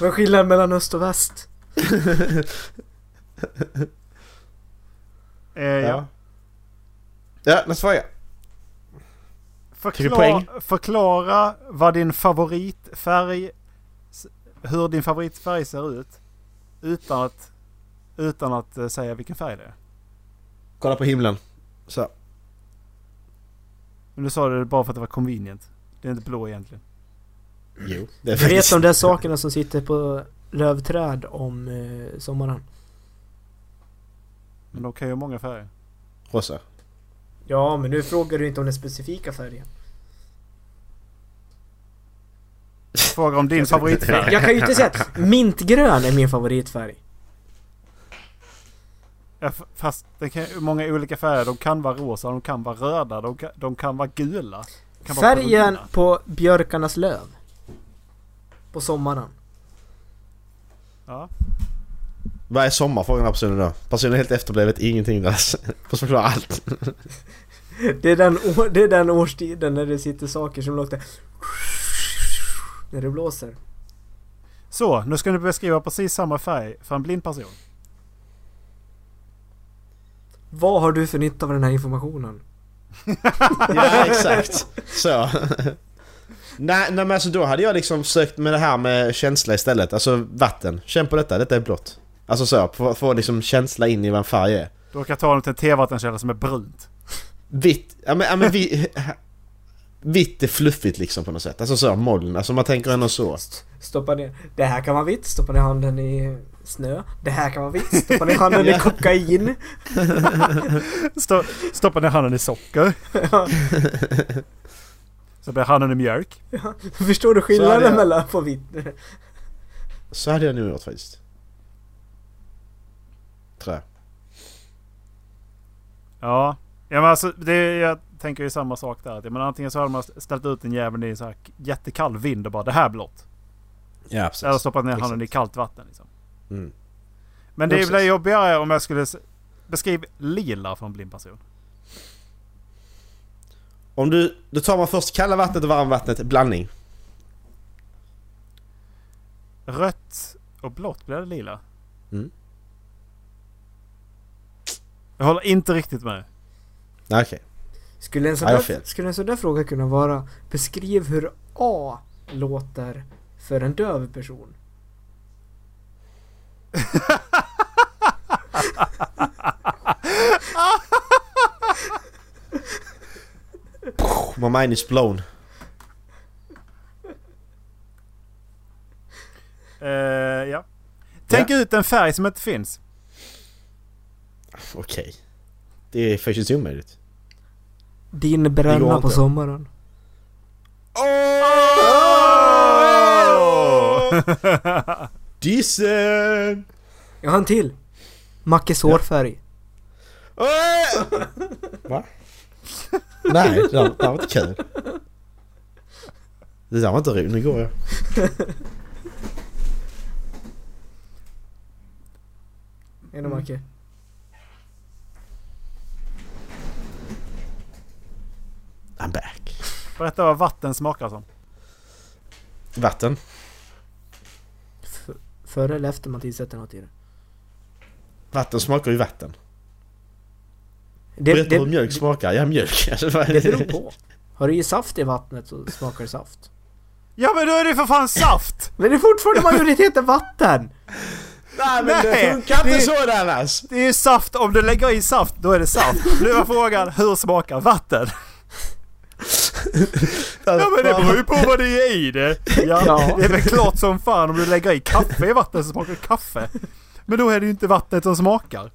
[SPEAKER 3] Vad är skillnaden mellan öst och väst?
[SPEAKER 1] Eh, ja.
[SPEAKER 2] Ja, nästa fråga. Tycker du poäng?
[SPEAKER 1] Förklara, förklara vad din favoritfärg, s- hur din favoritfärg ser ut utan att, utan att eh, säga vilken färg det är.
[SPEAKER 2] Kolla på himlen. Så. här.
[SPEAKER 1] Men du sa det bara för att det var convenient. Det är inte blå egentligen.
[SPEAKER 2] Jo. Det är
[SPEAKER 3] Jag vet
[SPEAKER 2] faktiskt...
[SPEAKER 3] de där sakerna som sitter på lövträd om eh, sommaren.
[SPEAKER 1] Men de kan ju ha många färger.
[SPEAKER 2] Rosa.
[SPEAKER 3] Ja, men nu frågar du inte om den specifika färgen.
[SPEAKER 1] Fråga om din favoritfärg.
[SPEAKER 3] Jag kan ju inte säga att mintgrön är min favoritfärg.
[SPEAKER 1] Ja, f- Fast det kan ju många olika färger. De kan vara rosa, de kan vara röda, de kan, de kan vara gula. De Kan vara
[SPEAKER 3] Färgen
[SPEAKER 1] bruna.
[SPEAKER 3] på björkarnas löv. På sommaren.
[SPEAKER 1] Ja.
[SPEAKER 2] Vad är sommar? Frågar den här personen då. Personen är helt efterblivet, ingenting där. Fast förklara allt.
[SPEAKER 3] Det är, den, å- det är den årstiden när det sitter saker som låter... När det blåser.
[SPEAKER 1] Så, nu ska ni beskriva precis samma färg för en blind person.
[SPEAKER 3] Vad har du för nytta av den här informationen?
[SPEAKER 2] Ja, exakt. Så. Nej, nej men alltså då hade jag liksom sökt med det här med känsla istället. Alltså vatten. Känn på detta, detta är blått. Alltså så, få, få liksom känsla in i vad en färg är.
[SPEAKER 1] Du råkar ta dem till en tevattenkälla som är brunt.
[SPEAKER 2] Vitt, ja men, ja, men vi, vitt är fluffigt liksom på något sätt. Alltså så, moln. Alltså man tänker ändå så.
[SPEAKER 3] St- Stoppa ner. Det här kan vara vitt. Stoppa ner handen i snö. Det här kan vara vitt. Stoppa ner handen i kokain.
[SPEAKER 1] Stå, stoppa ner handen i socker. Så blir handen i mjölk.
[SPEAKER 3] Förstår du
[SPEAKER 2] Så är
[SPEAKER 3] skillnaden
[SPEAKER 2] det.
[SPEAKER 3] mellan på vitt?
[SPEAKER 2] Så hade jag nog gjort faktiskt. Tror jag.
[SPEAKER 1] Ja. ja men alltså, det, jag tänker ju samma sak där. Men antingen så hade man ställt ut en jäveln i så här jättekall vind och bara det här är blått.
[SPEAKER 2] Ja, precis.
[SPEAKER 1] Eller stoppat ner handen i
[SPEAKER 2] Exakt.
[SPEAKER 1] kallt vatten. Liksom.
[SPEAKER 2] Mm.
[SPEAKER 1] Men det
[SPEAKER 2] Ja,
[SPEAKER 1] blir
[SPEAKER 2] precis.
[SPEAKER 1] jobbigare om jag skulle s- beskriva lila för en blind person.
[SPEAKER 2] Om du, då tar man först kalla vattnet och varmvattnet, blandning.
[SPEAKER 1] Rött och blått blir det lila.
[SPEAKER 2] Mm.
[SPEAKER 1] Jag håller inte riktigt med.
[SPEAKER 2] Nej, okej.
[SPEAKER 3] Skulle en, sån
[SPEAKER 2] Ja, jag
[SPEAKER 3] där,
[SPEAKER 2] fel.
[SPEAKER 3] skulle en sån där fråga kunna vara Beskriv hur A låter för en döv person.
[SPEAKER 2] My mind is blown.
[SPEAKER 1] Eh, ja. Tänk ut en färg som inte finns.
[SPEAKER 2] Okej. Det är faktiskt omöjligt.
[SPEAKER 3] Din
[SPEAKER 2] Det går
[SPEAKER 3] bränna
[SPEAKER 2] inte.
[SPEAKER 3] på sommaren.
[SPEAKER 2] Dissen!
[SPEAKER 3] Jag har en till. Mackes hårfärg.
[SPEAKER 2] Åh! Va? Nej, det där, det där var inte kul. Det där var inte roligt. Nu går jag.
[SPEAKER 3] Är
[SPEAKER 2] Mm.
[SPEAKER 3] det Macke?
[SPEAKER 2] I'm back.
[SPEAKER 1] Berätta vad vatten smakar som.
[SPEAKER 2] Vatten.
[SPEAKER 3] F- Före eller efter man tillsätter något i det?
[SPEAKER 2] Vatten smakar ju vatten.
[SPEAKER 3] Det,
[SPEAKER 2] Berätta hur
[SPEAKER 3] det,
[SPEAKER 2] mjölk smakar. Ja, mjölk. Alltså, vad är
[SPEAKER 3] det beror på. Har du i saft i vattnet så smakar det saft.
[SPEAKER 1] Ja men då är det för fan saft!
[SPEAKER 3] Men det är fortfarande majoriteten vatten!
[SPEAKER 2] Nej, men det
[SPEAKER 1] Nej,
[SPEAKER 2] funkar
[SPEAKER 1] det-
[SPEAKER 2] inte så Dallas!
[SPEAKER 1] Det är ju saft, om du lägger i saft då är det saft. Nu var frågan, hur smakar vatten? Ja men det beror ju på vad det är i det. Ja,
[SPEAKER 3] Ja.
[SPEAKER 1] Det är väl klart som fan om du lägger i kaffe i vatten så smakar det kaffe. Men då är det ju inte vattnet som smakar.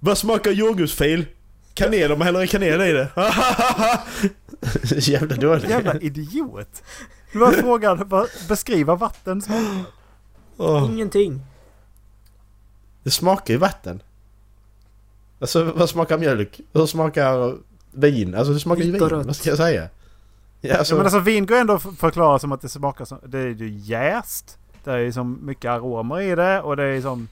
[SPEAKER 2] Vad smakar jordgubbsfil? Kanel om man häller i kanel i det. Jävla dålig.
[SPEAKER 1] Jävla idiot. Nu var frågan, vad- beskriva vatten som...
[SPEAKER 2] Åh,
[SPEAKER 3] Ingenting.
[SPEAKER 2] det smakar ju vatten. Alltså vad smakar mjölk? Hur smakar vin? Alltså det smakar ju
[SPEAKER 3] Vitt och
[SPEAKER 2] vin.
[SPEAKER 3] rött.
[SPEAKER 2] Vad ska jag säga? Ja, alltså,
[SPEAKER 1] Ja, men alltså vin går ändå att förklara som att det smakar som... Det är ju jäst. Det är ju som mycket aromer i det och det är ju som...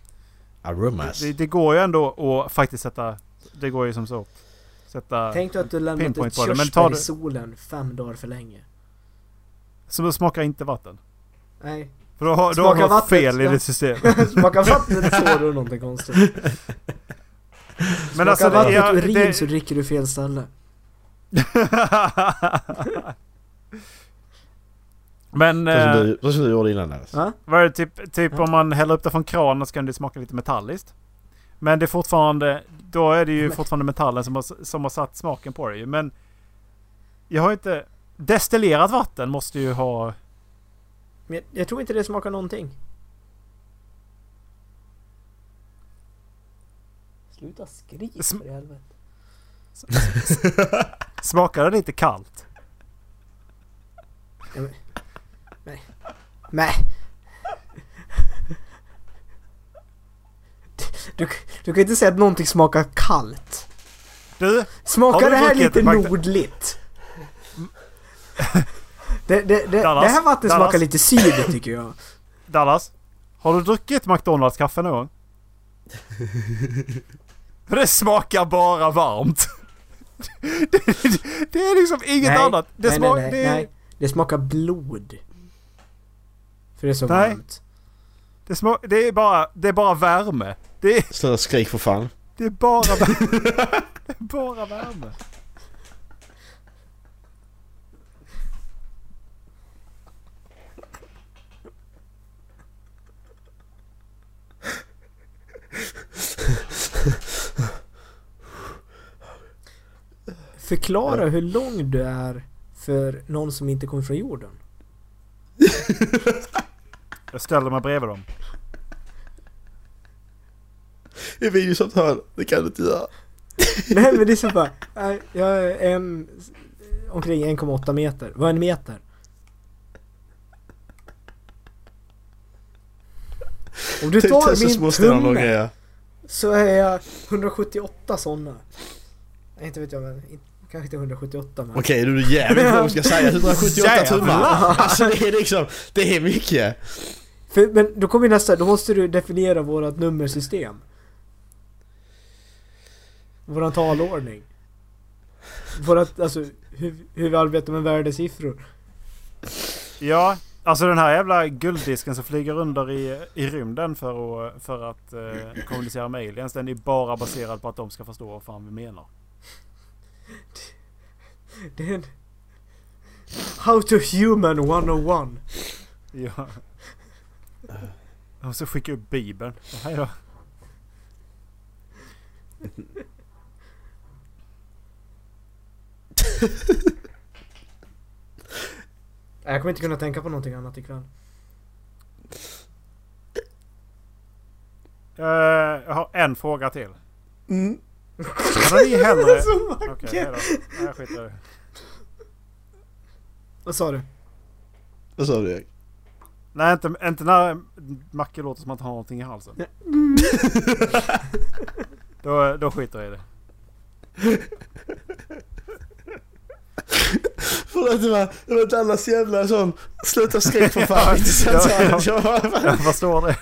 [SPEAKER 2] aromas.
[SPEAKER 1] Det, det går ju ändå att faktiskt sätta... Det går ju som så. Sätta...
[SPEAKER 3] Tänk dig att du lämnat
[SPEAKER 1] Pinpoint
[SPEAKER 3] ett
[SPEAKER 1] på det, men ta
[SPEAKER 3] körsbär i
[SPEAKER 1] det-
[SPEAKER 3] solen fem dagar för länge.
[SPEAKER 1] Som smakar inte vatten.
[SPEAKER 3] Nej.
[SPEAKER 1] För då har, då har
[SPEAKER 3] Smakar
[SPEAKER 1] man
[SPEAKER 3] vattnet,
[SPEAKER 1] fel i
[SPEAKER 3] ja.
[SPEAKER 1] det systemet.
[SPEAKER 3] Smakar vattnet så är det någonting konstigt. Smakar
[SPEAKER 1] Men alltså, det,
[SPEAKER 3] vattnet
[SPEAKER 1] ja,
[SPEAKER 3] urin
[SPEAKER 1] det,
[SPEAKER 3] så dricker du fel ställe.
[SPEAKER 1] Men
[SPEAKER 2] Så som
[SPEAKER 1] eh,
[SPEAKER 2] du- Så som du gjorde innan Dallas.
[SPEAKER 3] Va?
[SPEAKER 1] vad är det, typ, typ
[SPEAKER 3] Ja.
[SPEAKER 1] om man häller upp det från kranen så kan det smaka lite metalliskt. Men det är fortfarande, då är det ju
[SPEAKER 3] Men-
[SPEAKER 1] fortfarande metallen som har, som har satt smaken på det ju. Men jag har inte... Destillerat vatten måste ju ha...
[SPEAKER 3] Men jag, jag tror inte det smakar någonting. Sluta skrik
[SPEAKER 1] Sm-
[SPEAKER 3] för i helvete.
[SPEAKER 1] Smakar det lite kallt?
[SPEAKER 3] Nej. Du, du kan inte säga att någonting smakar kallt.
[SPEAKER 1] Du, Har
[SPEAKER 3] Smakar
[SPEAKER 1] du
[SPEAKER 3] det här
[SPEAKER 1] druckit
[SPEAKER 3] lite
[SPEAKER 1] Magda-
[SPEAKER 3] nordligt? Det, det, det,
[SPEAKER 1] Dallas,
[SPEAKER 3] det här vattnet
[SPEAKER 1] Dallas.
[SPEAKER 3] smakar lite syd tycker jag.
[SPEAKER 1] Dallas. Har du druckit McDonalds kaffe någon gång? För det smakar bara varmt. Det, det, det är liksom inget annat. Det
[SPEAKER 3] nej,
[SPEAKER 1] smak-
[SPEAKER 3] nej, nej,
[SPEAKER 1] det,
[SPEAKER 3] nej. Det smakar blod. För det är så
[SPEAKER 1] Nej.
[SPEAKER 3] varmt.
[SPEAKER 1] Det, smak, det, är bara, det är bara värme. Det är,
[SPEAKER 2] Sluta skrik för fan.
[SPEAKER 1] det är bara värme. Det är bara värme.
[SPEAKER 3] Förklara hur lång du är för någon som inte kommer från jorden.
[SPEAKER 1] Jag ställer mig bredvid dem.
[SPEAKER 2] I videosamtal, det kan du inte göra.
[SPEAKER 3] Nej men det är så bara, nej, jag är en, omkring 1,8 meter. Vad är en meter? Om du tar min tumme så är jag 178 sådana. Nej, Inte vet jag men, in- kanske inte 178 men.
[SPEAKER 2] Okej, du är jävligt bra ska jag säga. 178 tummar. Alltså det är liksom, det är mycket.
[SPEAKER 3] För, men då kommer ju nästa, då måste du definiera vårat nummersystem. Våran talordning. Vårat, alltså hur, hur vi arbetar med värdesiffror.
[SPEAKER 1] Ja, alltså den här jävla gulddisken som flyger under i, i rymden för att, för att eh, kommunicera med aliens. Den är bara baserad på att de ska förstå vad fan vi menar.
[SPEAKER 3] Det är en... How to human 101.
[SPEAKER 1] Ja. Och så skickar upp bibeln. Hej då.
[SPEAKER 3] Nej, Jag kommer inte kunna tänka på någonting annat ikväll.
[SPEAKER 1] Eh, jag har en fråga till. Hade ni hellre...
[SPEAKER 3] Så
[SPEAKER 1] Okej, hej då. Nej, jag skiter i det.
[SPEAKER 3] Vad sa du?
[SPEAKER 2] Vad sa du Erik?
[SPEAKER 1] Nej, inte, inte när Macke låter som att han har någonting i halsen. då, då skiter jag i det.
[SPEAKER 2] Förlåt, det var, det var Dallas jävla sån, sluta skrik för fan.
[SPEAKER 1] Ja,
[SPEAKER 2] Jag bara-
[SPEAKER 1] Jag förstår det.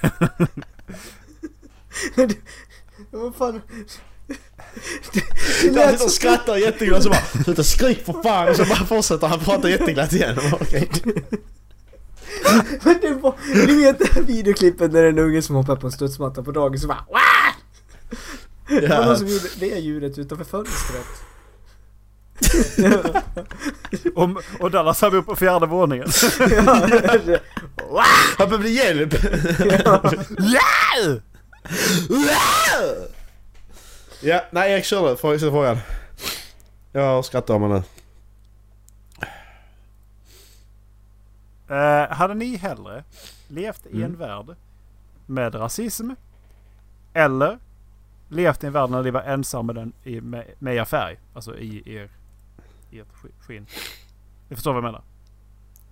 [SPEAKER 3] Vad fan?
[SPEAKER 2] Han sitter och Alltså, skrattar jätteglatt så bara Sluta skrik för fan! Och så bara fortsätter han prata jätteglatt igen. Och bara, okej.
[SPEAKER 3] Men det var, du vet det här videoklippet när det är en unge som hoppar på en studsmatta på dagis och bara "Wah!" Det var någon
[SPEAKER 2] Ja.
[SPEAKER 3] som gjorde det ljudet utanför fönstret.
[SPEAKER 1] Och, och Dallas har vi uppe på fjärde våningen.
[SPEAKER 3] Ja,
[SPEAKER 2] Han behöver hjälp! Ja, nej Erik kör du. Fråga- ställ frågan. Jag skrattar om henne.
[SPEAKER 1] Eh, hade ni hellre levt i en värld med rasism eller levt i en värld när ni var ensam med, den, i, med, med er färg? Alltså i er, i ert sk- skinn. Ni förstår vad jag menar?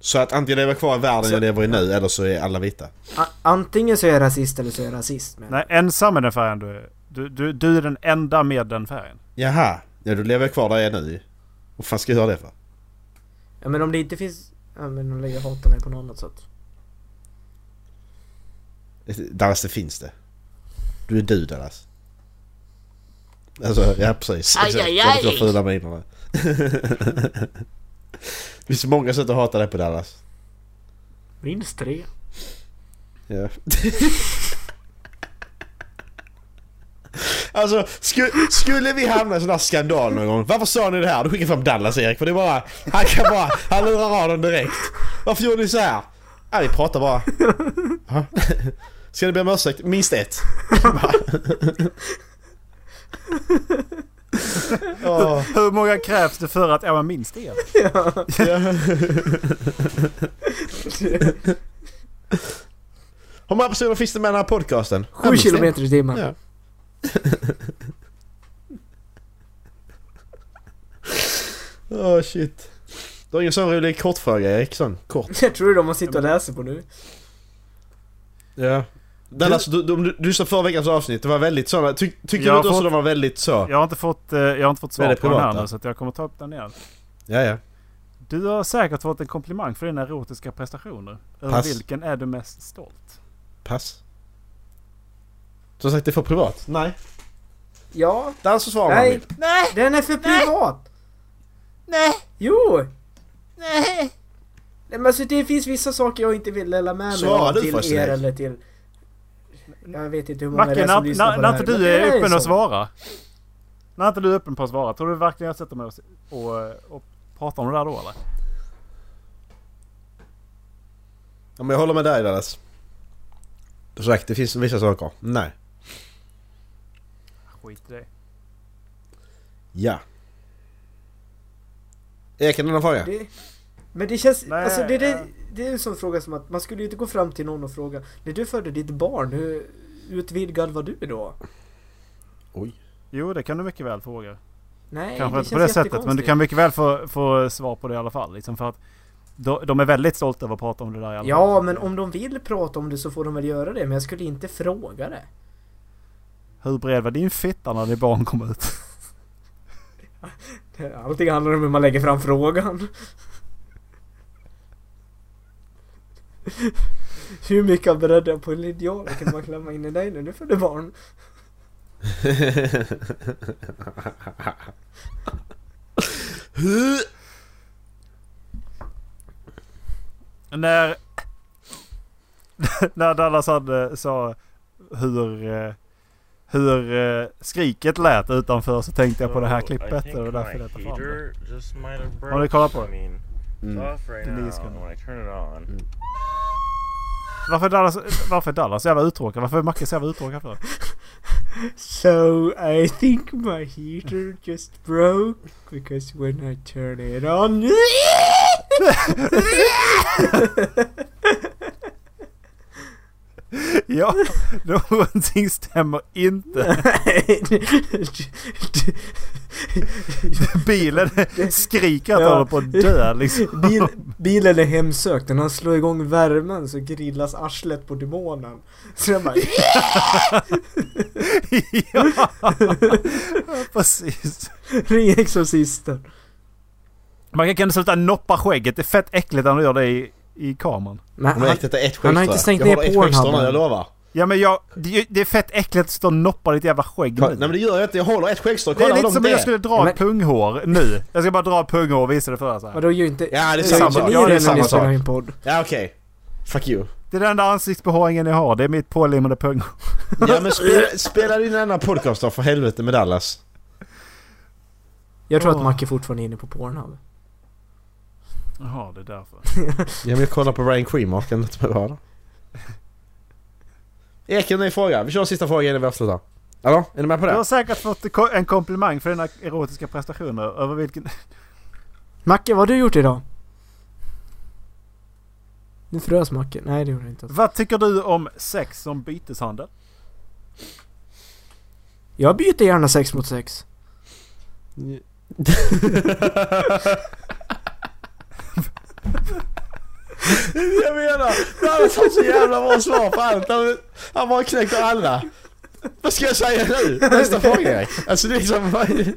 [SPEAKER 2] Så att antingen lever jag kvar i världen jag lever i nu eller så är alla vita.
[SPEAKER 3] A- antingen så är jag rasist eller så är jag rasist. Men
[SPEAKER 1] Nej, ensam med den färgen du är. Du, du, du är den enda med den färgen.
[SPEAKER 2] Jaha, ja då lever jag kvar där jag är nu. Vad fan ska jag göra det för?
[SPEAKER 3] Ja men om det inte finns... Ja men de lägger hatar mig på något annat sätt.
[SPEAKER 2] Dallas det finns det. Du är du Dallas. Alltså ja precis. Alltså, aj, aj, aj. fula minerna. det finns många sätt att hata dig på Dallas.
[SPEAKER 3] Minst tre.
[SPEAKER 2] Ja. Alltså, sku, skulle vi hamna i en sån där skandal någon gång. Varför sa ni det här? Du skickar fram Dallas Erik. För det är bara... Han kan bara... Han lurar av dem direkt. Varför gjorde ni så här? Ja, vi pratar bara. Jaha. Ska ni be om ursäkt? Minst ett. Åh,
[SPEAKER 1] Hur många krävs det för att... Ja, men minst det.
[SPEAKER 2] ja. Hur många personer finns det med i den här podcasten? Ja,
[SPEAKER 3] Sju
[SPEAKER 2] minst ett.
[SPEAKER 3] kilometer i timmen.
[SPEAKER 2] Ja. Åh oh, shit. Du har ingen sån rolig kortfråga Erik? Sån kort.
[SPEAKER 3] Jag tror de man sitter och läser på nu.
[SPEAKER 2] Ja. Dallas, alltså, du, du, du, du sa förra veckans avsnitt, det var väldigt såna. Ty, tycker
[SPEAKER 1] Jag
[SPEAKER 2] du
[SPEAKER 1] har
[SPEAKER 2] inte också
[SPEAKER 1] fått-
[SPEAKER 2] de var väldigt så? Ja,
[SPEAKER 1] Jag har inte fått, eh, jag har inte fått
[SPEAKER 2] Vad
[SPEAKER 1] svar
[SPEAKER 2] är det
[SPEAKER 1] på den här
[SPEAKER 2] privata?
[SPEAKER 1] nu så att jag kommer ta upp den igen.
[SPEAKER 2] ja. ja.
[SPEAKER 1] Du har säkert fått en komplimang för dina erotiska prestationer. Över
[SPEAKER 2] Pass.
[SPEAKER 1] vilken är du mest stolt?
[SPEAKER 2] Pass. Som sagt, det är för privat. Nej.
[SPEAKER 3] Ja.
[SPEAKER 2] Dallas får svara om han
[SPEAKER 3] Nej.
[SPEAKER 2] vill.
[SPEAKER 3] Nej. Den är för privat. Nej. Jo. Nej. Nej men alltså det finns vissa saker jag inte vill dela med mig
[SPEAKER 2] Svarar
[SPEAKER 3] av
[SPEAKER 2] du
[SPEAKER 3] till
[SPEAKER 2] förresten,
[SPEAKER 3] er
[SPEAKER 2] Erik?
[SPEAKER 3] eller till... Jag vet inte hur många det
[SPEAKER 1] Macke,
[SPEAKER 3] är som
[SPEAKER 1] när,
[SPEAKER 3] lyssnar
[SPEAKER 1] Mm. när,
[SPEAKER 3] på det
[SPEAKER 1] när
[SPEAKER 3] här.
[SPEAKER 1] inte du
[SPEAKER 3] men det
[SPEAKER 1] är öppen
[SPEAKER 3] så.
[SPEAKER 1] att svara. När inte du är öppen på att svara. Tror du verkligen jag sätter mig och, s- och, och pratar om det där då eller?
[SPEAKER 2] Ja, men jag håller med dig Dallas. Som sagt, det finns vissa saker. Nej.
[SPEAKER 1] Skit i det.
[SPEAKER 2] Ja. Erik, en annan fråga?
[SPEAKER 3] Det, men det känns...
[SPEAKER 1] Nej,
[SPEAKER 3] alltså det,
[SPEAKER 1] ja.
[SPEAKER 3] det, det är en sån fråga som att man skulle ju inte gå fram till någon och fråga När du födde ditt barn, hur utvidgad var du då?
[SPEAKER 2] Oj.
[SPEAKER 1] Jo, det kan du mycket väl fråga.
[SPEAKER 3] Nej,
[SPEAKER 1] Kanske
[SPEAKER 3] det
[SPEAKER 1] inte
[SPEAKER 3] känns
[SPEAKER 1] på det sättet, men du
[SPEAKER 3] jättekonstigt.
[SPEAKER 1] kan mycket väl få, få svar på det i alla fall. Liksom för att de, de är väldigt stolta över att prata om det där i alla fall.
[SPEAKER 3] Ja, men om de vill prata om det så får de väl göra det, men jag skulle inte fråga det.
[SPEAKER 1] Hur bred var din fitta när ditt barn kom ut?
[SPEAKER 3] Allting handlar om hur man lägger fram frågan. Hur mycket av bredden på en linjal kan man klämma in i dig när du födde barn?
[SPEAKER 1] När... när Dallas hade, sa hur... eh, Hur eh, skriket lät utanför så tänkte jag på det här klippet och det var därför jag tar fram det. Har ni kollat på det? Det är nio sekunder. Varför är Dallas, varför är Dallas så jävla uttråkad? Varför är Macke så jävla uttråkad för?
[SPEAKER 3] So I think my heater just broke because when I turn it on...
[SPEAKER 1] Ja, någonting stämmer inte. Bilen skriker att den
[SPEAKER 3] Ja.
[SPEAKER 1] håller på att dö liksom.
[SPEAKER 3] Bil, bilen är hemsökt, när han slår igång värmen så grillas arslet på demonen. Så jag bara...
[SPEAKER 1] ja, precis.
[SPEAKER 3] Ring exorcisten.
[SPEAKER 1] Man kan du sluta noppa skägget? Det är fett äckligt när du gör det i, i kameran.
[SPEAKER 3] Men
[SPEAKER 2] Men Erik, detta är ett skämt
[SPEAKER 3] Han har inte
[SPEAKER 2] tror jag.
[SPEAKER 3] stängt
[SPEAKER 2] Jag
[SPEAKER 3] ner
[SPEAKER 2] håller ett
[SPEAKER 3] Pornhub
[SPEAKER 2] skämt tror jag,
[SPEAKER 3] än.
[SPEAKER 2] Jag lovar.
[SPEAKER 1] Ja men jag, det, det är fett äckligt att stå och noppa ditt jävla skägg
[SPEAKER 2] Nej men
[SPEAKER 1] nu.
[SPEAKER 2] det gör jag inte. Jag håller ett skäggstrå.
[SPEAKER 1] Det
[SPEAKER 2] Kolla
[SPEAKER 1] är
[SPEAKER 2] hur
[SPEAKER 1] lite
[SPEAKER 2] långt
[SPEAKER 1] som
[SPEAKER 2] det
[SPEAKER 1] om
[SPEAKER 2] är.
[SPEAKER 1] jag skulle dra
[SPEAKER 3] Men-
[SPEAKER 1] ett punghår nu. Jag ska bara dra ett punghår och visa det för er så här.
[SPEAKER 3] Vadå gör ju inte...
[SPEAKER 2] Ja, det är
[SPEAKER 3] gör
[SPEAKER 2] samma
[SPEAKER 3] inte
[SPEAKER 2] sak.
[SPEAKER 3] ni
[SPEAKER 2] Ja, det är
[SPEAKER 3] när ni
[SPEAKER 2] samma
[SPEAKER 3] spelar
[SPEAKER 2] sak.
[SPEAKER 3] in podd?
[SPEAKER 2] Ja okej. Fuck you.
[SPEAKER 1] Det är den enda ansiktsbehåringen jag har. Det är mitt pålimmade punghår.
[SPEAKER 2] Ja men spela, spela din annan podcast då för helvete med Dallas.
[SPEAKER 3] Jag tror att
[SPEAKER 1] Åh.
[SPEAKER 3] Macke fortfarande är inne på Pornhub.
[SPEAKER 1] Jaha, det är därför.
[SPEAKER 2] Ja men jag kollar på Ryan Creamer. Kan inte med vara Erik, en ny fråga. Vi kör en sista fråga innan vi avslutar. Hallå? Är ni med på
[SPEAKER 1] Du
[SPEAKER 2] det?
[SPEAKER 1] har säkert fått ko- en komplimang för dina erotiska prestationer. Över vilken...
[SPEAKER 3] Macke, vad har du gjort idag? Nu frös Macke. Nej, det gjorde han inte.
[SPEAKER 1] Vad tycker du om sex som byteshandel?
[SPEAKER 3] Jag byter gärna sex mot sex.
[SPEAKER 2] Jag menar, Dallas har så jävla bra svar på allt. Han, han bara knäcker alla. Vad ska jag säga nu? Nästa fråga Erik. Alltså det är liksom... vad-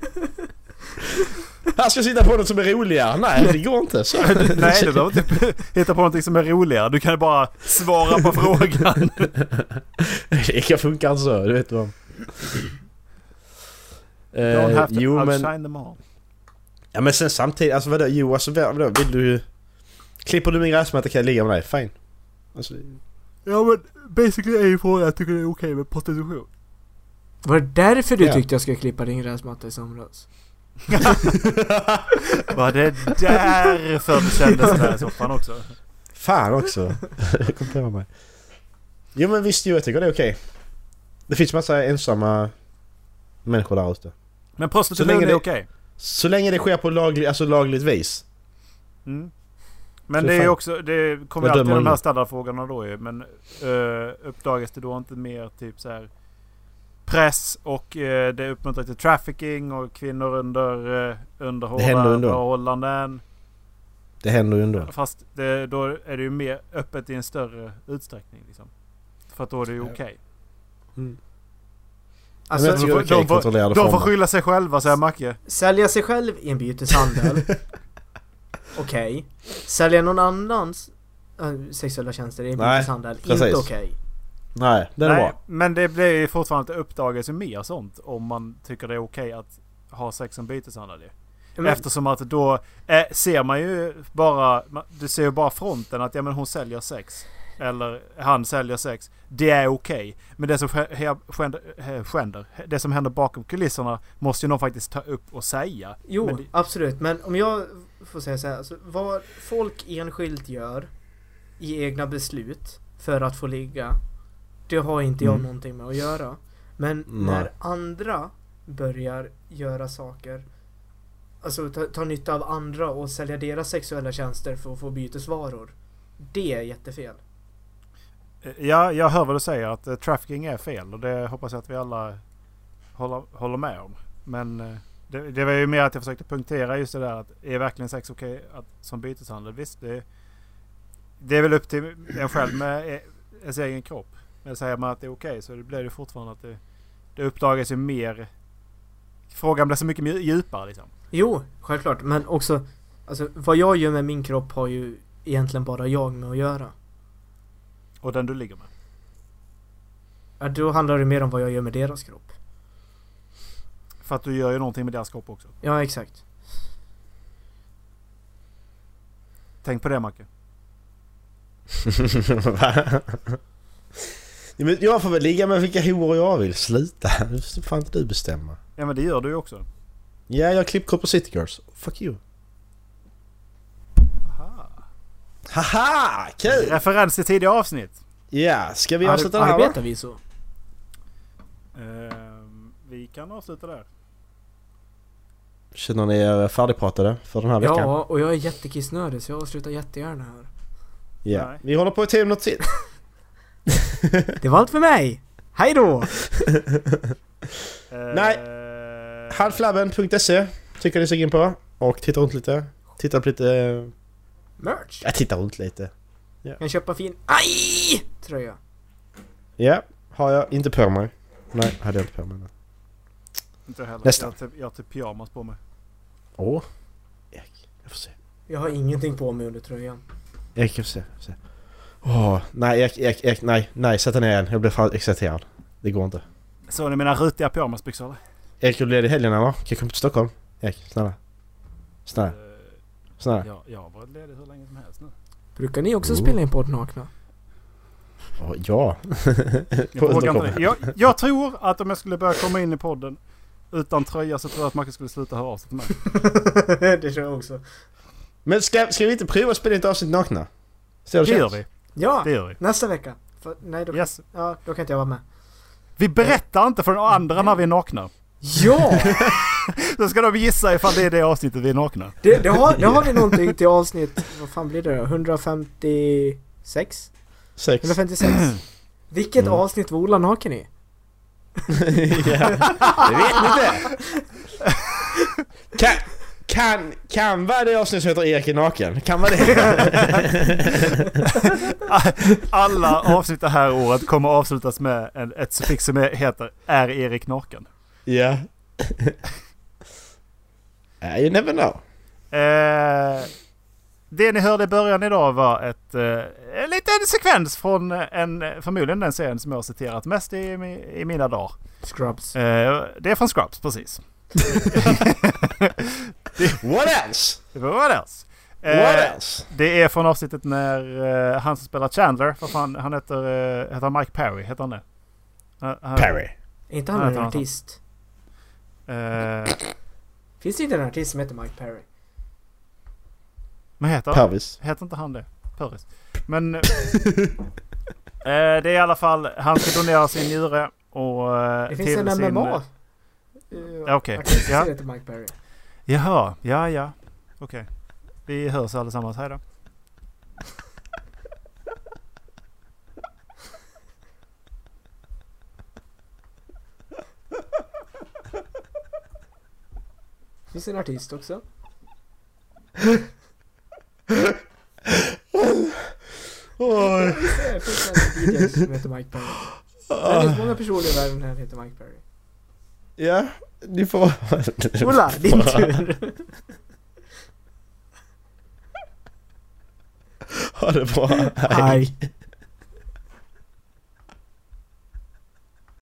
[SPEAKER 2] Han ska sitta på något som är roligare. Nej, det går inte. Så.
[SPEAKER 1] Nej, du behöver inte hitta på någonting som är roligare. Du kan bara svara på frågan.
[SPEAKER 2] Det kan funka inte så, du vet vad.
[SPEAKER 1] Don't
[SPEAKER 2] Eh,
[SPEAKER 1] have to
[SPEAKER 2] jo
[SPEAKER 1] outshine
[SPEAKER 2] men,
[SPEAKER 1] them all.
[SPEAKER 2] ja, men sen samtidigt, alltså vadå, jo alltså vadå, vill du... Klipper du min gräsmatta kan jag ligga med dig, fine. Alltså,
[SPEAKER 1] Ja men basically är ju frågan, jag tycker det är okej med prostitution.
[SPEAKER 3] Var det därför du
[SPEAKER 2] Ja.
[SPEAKER 3] tyckte jag skulle klippa din gräsmatta i somras?
[SPEAKER 1] Var det därför du kände sådär i soffan också?
[SPEAKER 2] fan också. Kom på mig. Jo men visst, jo jag tycker det är okej. Det finns massa ensamma människor där ute.
[SPEAKER 1] Men
[SPEAKER 2] Så länge
[SPEAKER 1] prostitution
[SPEAKER 2] det-
[SPEAKER 1] är okej.
[SPEAKER 2] Så länge det sker på laglig, alltså lagligt vis.
[SPEAKER 1] Mm. Men
[SPEAKER 2] Så
[SPEAKER 1] det är
[SPEAKER 2] fan.
[SPEAKER 1] ju också, det kommer ju
[SPEAKER 2] Jag
[SPEAKER 1] alltid
[SPEAKER 2] dömer
[SPEAKER 1] de här
[SPEAKER 2] ingen.
[SPEAKER 1] standardfrågorna då ju. Men eh, uppdagas det då inte mer typ så här press och eh, det uppmuntrar till trafficking och kvinnor under, eh, under hårda
[SPEAKER 2] händer ändå.
[SPEAKER 1] förhållanden.
[SPEAKER 2] Det händer ju ändå.
[SPEAKER 1] Fast det, då är det ju mer öppet i en större utsträckning. Liksom. För att då är det ju okej.
[SPEAKER 2] Mm.
[SPEAKER 1] Alltså,
[SPEAKER 2] jag tycker
[SPEAKER 1] de,
[SPEAKER 2] det är okej
[SPEAKER 1] de, får,
[SPEAKER 2] kontrollerade
[SPEAKER 1] de får
[SPEAKER 2] former.
[SPEAKER 1] skylla sig själva säger Macke.
[SPEAKER 3] Sälja sig själv i en byteshandel. Okej. Sälja någon annans äh, sexuella tjänster i en
[SPEAKER 2] Nej,
[SPEAKER 3] byteshandel.
[SPEAKER 2] precis.
[SPEAKER 3] Inte okej.
[SPEAKER 2] Nej, den är
[SPEAKER 1] Nej,
[SPEAKER 2] bra.
[SPEAKER 1] men det blir ju fortfarande att uppdagas ju mer sånt om man tycker det är okej att ha sex som byteshandel ju.
[SPEAKER 3] Ja, men-
[SPEAKER 1] Eftersom att då eh, ser man ju bara, ma- du ser ju bara fronten att ja men hon säljer sex. Eller han säljer sex. Det är okej. Men det som, ske- he- skänder, he- skänder, det som händer bakom kulisserna måste ju någon faktiskt ta upp och säga.
[SPEAKER 3] Jo,
[SPEAKER 1] Men det-
[SPEAKER 3] absolut. Men om jag får säga så här. Alltså, vad folk enskilt gör i egna beslut för att få ligga. Det har inte
[SPEAKER 1] Mm.
[SPEAKER 3] jag någonting med att göra. Men
[SPEAKER 2] Nej.
[SPEAKER 3] när andra börjar göra saker. Alltså ta, ta nytta av andra och sälja deras sexuella tjänster för att få bytesvaror. Det är jättefel.
[SPEAKER 1] Ja, jag hör vad du säger att eh, trafficking är fel och det hoppas jag att vi alla håller, håller med om. Men eh, det, det var ju mer att jag försökte punktera just det där att är verkligen sex okej att, som byteshandel? Visst, det, det är väl upp till en själv med eh, ens egen kropp. Men säger man att det är okej så det blir det fortfarande att det, det uppdagas ju mer. Frågan blir så mycket mju- djupare liksom.
[SPEAKER 3] Jo, självklart. Men också. Alltså vad jag gör med min kropp har ju egentligen bara jag med att göra.
[SPEAKER 1] Och den du ligger med.
[SPEAKER 3] Ja, då handlar det mer om vad jag gör med deras kropp.
[SPEAKER 1] För att du gör ju någonting med deras kropp också.
[SPEAKER 3] Ja, exakt.
[SPEAKER 1] Tänk på det Macke.
[SPEAKER 2] Va? Ja, men jag får väl ligga med vilka horor jag vill. Sluta. Nu får fan inte du bestämma.
[SPEAKER 1] Ja men det gör du ju också.
[SPEAKER 2] Ja, jag har klippkort på City Girls. Fuck you. Haha! Kul!
[SPEAKER 1] Referens till tidigare avsnitt.
[SPEAKER 2] Ja, ska vi
[SPEAKER 3] Ar-
[SPEAKER 2] avsluta det här va?
[SPEAKER 3] arbetar vi så?
[SPEAKER 1] Ehm, vi kan avsluta där.
[SPEAKER 2] Känner ni er färdigpratade för den här veckan?
[SPEAKER 3] Ja, och jag är jättekissnödig så jag avslutar jättegärna här.
[SPEAKER 2] Ja.
[SPEAKER 1] Nej.
[SPEAKER 2] Vi håller på i tio minuter till.
[SPEAKER 3] Det var allt för mig! Hej då!
[SPEAKER 1] Ehm,
[SPEAKER 2] Nej. Halflabben.se tycker ni ska gå in på. Och titta runt lite. Titta på lite...
[SPEAKER 3] Merch!
[SPEAKER 2] Ja, titta runt lite.
[SPEAKER 3] Kan köpa fin... Aj! Tröja.
[SPEAKER 2] Ja, har jag inte på mig. Nej, hade jag inte på mig. nu.
[SPEAKER 1] Inte jag heller.
[SPEAKER 2] Nästa.
[SPEAKER 1] Jag har typ- Jag har typ pyjamas på mig.
[SPEAKER 2] Åh. Erik, jag får se.
[SPEAKER 3] Jag har ingenting på mig under tröjan.
[SPEAKER 2] Erik, jag får se. Jag får se. Åh, nej, Erik, Erik, Erik, nej, nej, sätt dig ner igen. Jag blir fan exalterad. Det går inte.
[SPEAKER 1] Så ni mina rutiga pyjamasbyxor eller?
[SPEAKER 2] Erik, är du ledig i helgen eller? Kan jag komma till Stockholm? Erik, snälla. Snälla,
[SPEAKER 1] Ehm,
[SPEAKER 2] snälla.
[SPEAKER 1] jag, jag har varit ledig hur länge som helst nu.
[SPEAKER 3] Brukar ni också
[SPEAKER 2] Oh.
[SPEAKER 3] spela in podd nakna?
[SPEAKER 2] Åh, ja.
[SPEAKER 1] Jag, vågar inte
[SPEAKER 2] Underkom.
[SPEAKER 1] det. jag, jag tror att om jag skulle börja komma in i podden utan tröja så tror jag att Marcus skulle sluta höra av sig till mig.
[SPEAKER 3] det tror jag också.
[SPEAKER 2] Men ska, ska vi inte prova att spela in ett avsnitt nakna? Ser du
[SPEAKER 1] Det gör
[SPEAKER 2] känns?
[SPEAKER 1] vi.
[SPEAKER 3] Ja!
[SPEAKER 1] Det gör vi.
[SPEAKER 3] Nästa vecka. För, nej, då,
[SPEAKER 1] Yes.
[SPEAKER 3] ja, då kan inte jag vara med.
[SPEAKER 1] Vi berättar inte för några andra när vi är nakna.
[SPEAKER 3] Ja!
[SPEAKER 1] Då ska de gissa ifall det är det avsnittet vi är nakna.
[SPEAKER 3] Det, det, har, det har vi någonting till avsnitt... Vad fan blir det då? 156?
[SPEAKER 2] Sex.
[SPEAKER 3] 156? Vilket avsnitt var Ola naken i?
[SPEAKER 2] ja. Det vet ni inte! Kan, kan, kan vara det avsnitt som heter Erik är naken? Kan vara det?
[SPEAKER 1] Alla avsnitt det här året kommer avslutas med en, ett suffix som heter Är Erik naken?
[SPEAKER 2] ja. Yeah, you never know.
[SPEAKER 1] Eh, det ni hörde i början idag var ett, eh, en liten sekvens från en, förmodligen den serien som jag har citerat mest i, mi- i mina dagar.
[SPEAKER 3] Scrubs.
[SPEAKER 1] Eh, det är från Scrubs, precis.
[SPEAKER 2] What else?
[SPEAKER 1] Det var What else? Eh,
[SPEAKER 2] What else?
[SPEAKER 1] det är från avsnittet när eh, han som spelar Chandler, vad fan, han heter, eh, heter han Mike Perry, heter han det? Han- han-
[SPEAKER 2] Perry.
[SPEAKER 3] Är inte han
[SPEAKER 1] Nej,
[SPEAKER 3] en
[SPEAKER 1] fan, fan.
[SPEAKER 3] artist?
[SPEAKER 1] Eh,
[SPEAKER 3] Finns det inte en artist som heter Mike Perry?
[SPEAKER 1] vad heter han?
[SPEAKER 2] Pervis.
[SPEAKER 1] Heter inte han det? Purris. Men... eh, det är i alla fall, han ska donera sin njure och... eh,
[SPEAKER 3] Det finns
[SPEAKER 1] till
[SPEAKER 3] en
[SPEAKER 1] sin-
[SPEAKER 3] MMA.
[SPEAKER 1] Ja, okej.
[SPEAKER 3] Eh, Artist
[SPEAKER 1] Ja.
[SPEAKER 3] som heter Mike Perry.
[SPEAKER 1] Jaha, ja ja. Okej. Vi hörs allesammans, hejdå.
[SPEAKER 3] Finns en artist också.
[SPEAKER 2] Oj.
[SPEAKER 3] Det finns en DJ som heter Mike Perry. Det finns många personer i världen här som heter Mike Perry.
[SPEAKER 2] Ja, ni får...
[SPEAKER 3] Ola, din tur!
[SPEAKER 2] Ha det bra.
[SPEAKER 3] Hej!